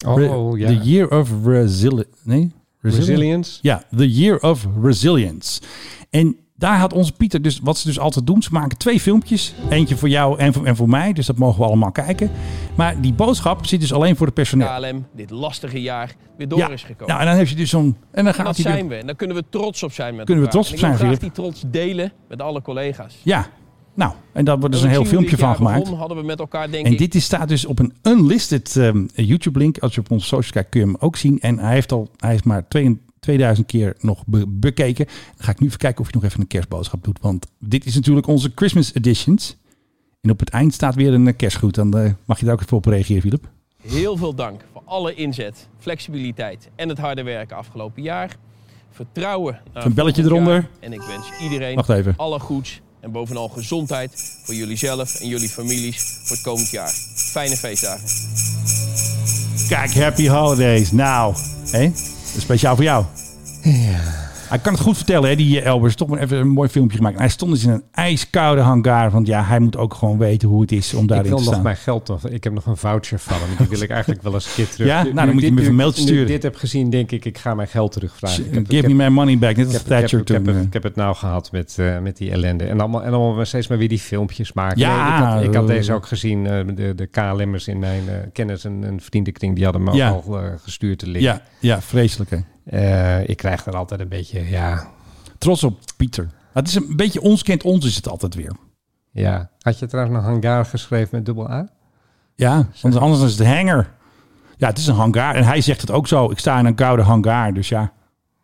S2: Oh,
S1: Re-
S2: ja.
S1: The Year of Resili nee? Resilient?
S2: Resilience.
S1: Ja, The Year of Resilience. En daar had onze Pieter dus, wat ze dus altijd doen, ze maken twee filmpjes. Eentje voor jou en voor, en voor mij, dus dat mogen we allemaal kijken. Maar die boodschap zit dus alleen voor het personeel.
S13: KLM dit lastige jaar weer door
S1: Ja,
S13: is gekomen.
S1: nou en dan heb je dus zo'n... En dan gaat
S13: dat
S1: hij weer-
S13: zijn we. En daar kunnen we trots op zijn met
S1: Kunnen we
S13: elkaar.
S1: trots op
S13: En ik wil
S1: zijn,
S13: graag die trots delen met alle collega's.
S1: Ja, nou, en daar wordt dus
S13: Toen
S1: een heel
S13: ik zie hoe
S1: filmpje
S13: dit
S1: van
S13: jaar
S1: gemaakt.
S13: begon, hadden we met elkaar denk
S1: En
S13: ik...
S1: dit is, staat dus op een unlisted ehm, YouTube-link. Als je op onze socials kijkt, kun je hem ook zien. En hij heeft al, hij heeft maar twee- 2000 keer nog be- bekeken. Dan ga ik nu even kijken of hij nog even een kerstboodschap doet. Want dit is natuurlijk onze Christmas editions. En op het eind staat weer een eh, kerstgroet. Dan eh, mag je daar ook even op reageren, Philip.
S13: Heel veel dank voor alle inzet, flexibiliteit en het harde werken afgelopen jaar. Vertrouwen. naar
S1: Een belletje
S13: volgend jaar.
S1: eronder.
S13: En ik wens iedereen
S1: Wacht even.
S13: alle goeds en bovenal gezondheid voor jullie zelf en jullie families voor het komend jaar. Fijne feestdagen.
S1: Kijk, happy holidays. Nou, hè? speciaal voor jou. Hij kan het goed vertellen, hè, die eh, Elbers. Toch maar even een mooi filmpje gemaakt. En hij stond dus in een ijskoude hangar. Want ja, hij moet ook gewoon weten hoe het is om daarin
S2: ik wil
S1: te
S2: nog
S1: staan.
S2: mijn geld nog. Ik heb nog een voucher van hem. Die wil ik eigenlijk wel eens een keer terug.
S1: Ja?
S2: Nu-
S1: Nou, dan
S2: nu
S1: moet je
S2: dit-
S1: me even
S2: nu-
S1: mailtje
S2: nu
S1: sturen.
S2: ik dit heb gezien, denk ik, ik ga mijn geld terugvragen. Ik heb- ik
S1: Eh, Give me
S2: heb-
S1: my money back. Net
S2: Ik
S1: als
S2: heb, ik, heb,
S1: Thatcher
S2: ik, heb,
S1: toen. eh,
S2: het- ik heb het nou gehad met, eh, met die ellende. En allemaal, en allemaal maar steeds maar weer die filmpjes maken.
S1: Ja,
S2: Nee, ik, had, ik had
S1: eh,
S2: deze ook gezien. eh, de, de KLM'ers in mijn eh, kennis en, en vriendenkring... die hadden me
S1: Ja.
S2: al eh, gestuurd te link.
S1: Ja, ja, vreselijk hè.
S2: Eh, ik krijg er altijd een beetje... Ja,
S1: Trots op Pieter. Nou, Het is een beetje ons kent ons is het altijd weer.
S2: ja. Had je trouwens een hangar geschreven met dubbel A?
S1: Ja, want anders is het hanger. Ja, het is een hangar. En hij zegt het ook zo. Ik sta in een koude hangar. Dus ja,
S2: Hmm.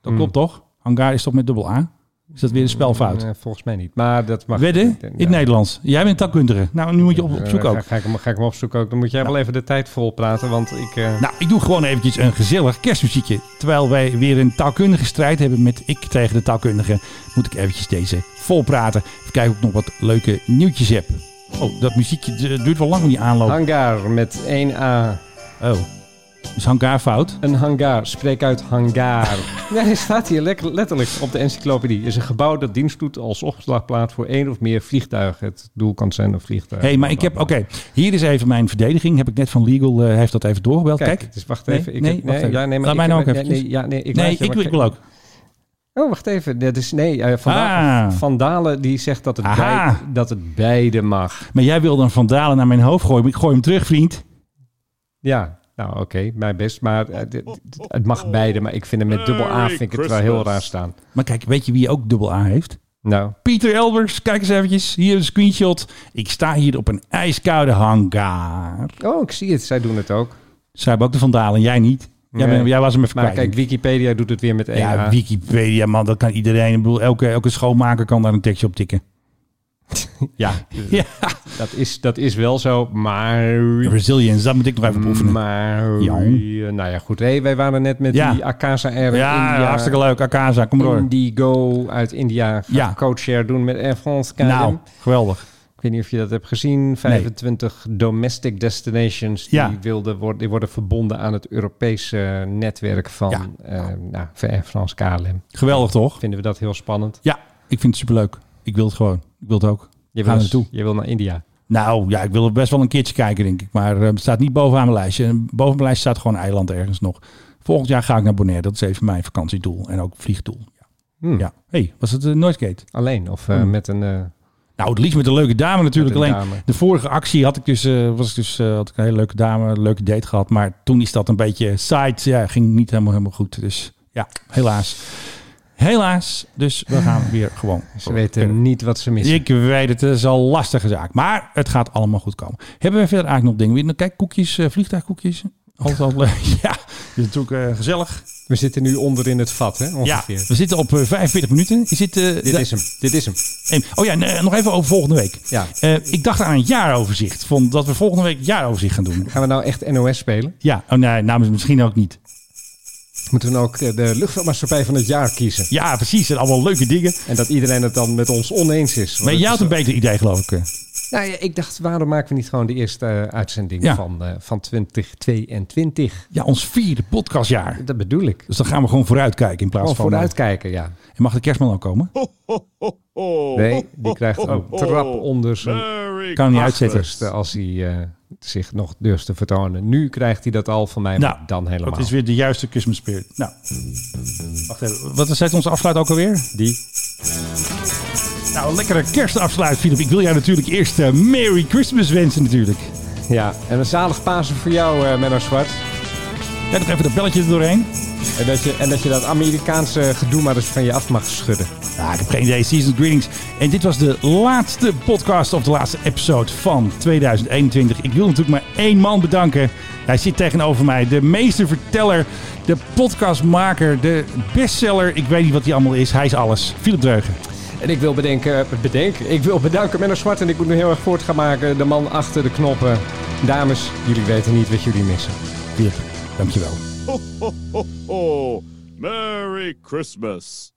S1: dat klopt toch? Hangar is toch met dubbel A? Is dat weer een spelfout?
S2: Eh, volgens mij niet. Maar dat mag...
S1: Wedden? In het Nederlands. Jij bent taalkundige. Nou, nu moet je op, op zoek
S2: Eh,
S1: ook.
S2: Ga, ga, ik hem, ga ik hem opzoeken ook. Dan moet jij wel even de tijd vol praten, want ik... eh,
S1: Nou, ik doe gewoon eventjes een gezellig kerstmuziekje. Terwijl wij weer een taalkundige strijd hebben met ik tegen de taalkundige, moet ik eventjes deze volpraten. Even kijken of ik nog wat leuke nieuwtjes heb. Oh, dat muziekje eh, duurt wel lang om die aanloop.
S2: Hangar met 1A.
S1: Oh, is hangar fout?
S2: Een hangar. Spreek uit hangar. ja, hij staat hier lek- letterlijk op de encyclopedie. is een gebouw dat dienst doet als opslagplaats voor één of meer vliegtuigen. Het doel kan zijn een vliegtuig.
S1: Hé, hey, maar ik heb, oké, hier is even mijn verdediging. Heb ik net van Legal, eh, heeft dat even doorgebeld. Kijk,
S2: het is- dus wacht
S1: Nee,
S2: even. Ik
S1: nee,
S2: heb-
S1: wacht even.
S2: ja, nee, maar
S1: Laat
S2: ik
S1: mij nou ook
S2: heb-
S1: even.
S2: nee, nee, ja, nee,
S1: nee,
S2: ik laat je
S1: ik,
S2: maar-
S1: wil- ik wil ook.
S2: Oh, wacht even. Dat is, nee, eh, Van, Da-
S1: Ah.
S2: Van Dalen die zegt dat het,
S1: Aha.
S2: bij- dat het beide mag.
S1: Maar jij wilde een vandalen naar mijn hoofd gooien. Ik gooi hem terug, vriend.
S2: Ja, nou oké, mijn best. Maar eh, dit- dit- het mag beide. Maar ik vind hem met dubbel A vind ik het wel heel raar staan.
S1: Maar kijk, weet je wie ook dubbel A heeft?
S2: Nou.
S1: Pieter Elbers, kijk eens eventjes. Hier een screenshot. Ik sta hier op een ijskoude hangar.
S2: Oh, ik zie het. Zij doen het ook.
S1: Zij hebben ook de vandalen, jij niet. Jij,
S2: Nee.
S1: bent- jij was hem even
S2: Maar
S1: kwijt.
S2: kijk, Wikipedia doet het weer met één
S1: ja,
S2: A.
S1: Wikipedia, man, dat kan iedereen. Ik bedoel, elke, elke schoonmaker kan daar een tekstje op tikken.
S2: Ja, Dat, is, dat is wel zo, maar...
S1: Resilience, dat moet ik nog even oefenen.
S2: Maar,
S1: Ja.
S2: nou ja, goed. Hé, wij waren net met
S1: Ja.
S2: die Akasa Air
S1: Ja,
S2: India.
S1: hartstikke leuk. Akaza, kom maar door.
S2: Indigo uit India gaat
S1: Ja.
S2: coachshare doen met Air France KLM.
S1: Nou, geweldig.
S2: Ik weet niet of je dat hebt gezien. 25 domestic destinations die,
S1: Ja.
S2: wilden worden, die worden verbonden aan het Europese netwerk van
S1: Ja.
S2: eh, nou, van Air France KLM.
S1: Geweldig, toch?
S2: Vinden we dat heel spannend.
S1: Ja, ik vind het superleuk. Ik wil het gewoon. Ik wil het ook.
S2: Je
S1: Ga
S2: wil,
S1: er naartoe.
S2: je wil naar India.
S1: Nou ja, ik wil er best wel een keertje kijken, denk ik. Maar eh, het staat niet bovenaan mijn lijstje. En Boven mijn lijst staat gewoon een eiland ergens nog. Volgend jaar ga ik naar Bonaire. Dat is even mijn vakantiedoel en ook vliegdoel. Ja.
S2: Hmm.
S1: Ja. hey, was het uh, Noordgate?
S2: Alleen of eh,
S1: Hmm.
S2: met een... eh,
S1: Nou, het liefst met een leuke dame natuurlijk.
S2: Met een
S1: Alleen
S2: dame.
S1: de vorige actie had ik dus, eh, was ik dus eh, had ik een hele leuke dame, een leuke date gehad. Maar toen is dat een beetje side. Ja, ging niet helemaal, helemaal goed. Dus ja, helaas. Helaas. Dus we gaan weer gewoon.
S2: ze weten niet wat ze missen.
S1: Ik weet het, het is al een lastige zaak. Maar het gaat allemaal goed komen. Hebben we verder eigenlijk nog dingen? Weer- Kijk, koekjes, eh, vliegtuigkoekjes. Altijd al leuk. Ja, dit is natuurlijk eh, gezellig.
S2: We zitten nu onder in het vat, hè? Ongeveer.
S1: Ja, we zitten op eh, 45 minuten. Is dit, eh,
S2: Dit
S1: de-
S2: is hem. Dit is hem.
S1: en- oh ja, nee, nog even over volgende week.
S2: Ja.
S1: Eh, ik dacht aan een jaaroverzicht. Van dat we volgende week een jaaroverzicht gaan doen.
S2: Gaan we nou echt NOS spelen?
S1: Ja, oh nee, namens misschien ook niet.
S2: Moeten we dan ook eh, de luchtvaartmaatschappij van het jaar kiezen?
S1: Ja, precies. Het zijn allemaal leuke dingen.
S2: En dat iedereen het dan met ons oneens is. Want
S1: Maar
S2: het
S1: jij had
S2: is
S1: een beter idee, geloof ik. eh.
S2: Nou ja, ik dacht, waarom maken we niet gewoon de eerste eh, uitzending
S1: Ja.
S2: van, eh, van 2022?
S1: Ja, ons vierde podcastjaar.
S2: Dat bedoel ik.
S1: Dus dan gaan we gewoon vooruitkijken in plaats
S2: Gewoon
S1: van... eh,
S2: vooruitkijken, ja.
S1: En mag de kerstman ook komen?
S2: Nee, die krijgt een trap onder zijn
S4: Merry
S1: Kan hem niet
S4: Christmas.
S1: uitzetten.
S2: achterste als hij eh, zich nog durft te vertonen. Nu krijgt hij dat al van mij, maar
S1: Nou,
S2: dan helemaal.
S1: Dat is weer de juiste Christmas spirit. Nou, wacht even. Wat zet onze afsluit ook alweer?
S2: Die.
S1: Nou, een lekkere kerstafsluit, Filip. Ik wil jou natuurlijk eerst eh, Merry Christmas wensen natuurlijk.
S2: Ja, en een zalig Pasen voor jou, eh Menno Zwart.
S1: Ja, nog even dat belletje er doorheen.
S2: En dat, je, en dat je dat Amerikaanse gedoe maar eens van je af mag schudden.
S1: Ja, Ah, ik heb geen idee. Season greetings. En dit was de laatste podcast of de laatste episode van 2021. Ik wil natuurlijk maar één man bedanken. Hij zit tegenover mij. De meesterverteller, de podcastmaker, de bestseller. Ik weet niet wat hij allemaal is. Hij is alles. Filip Dreugen.
S2: En ik wil bedenken, bedenken, ik wil bedanken Menno Zwart en ik moet nu heel erg voort gaan maken. De man achter de knoppen. Dames, jullie weten niet wat jullie missen.
S1: Filip, dankjewel.
S4: Ho, ho, ho, ho. Merry Christmas.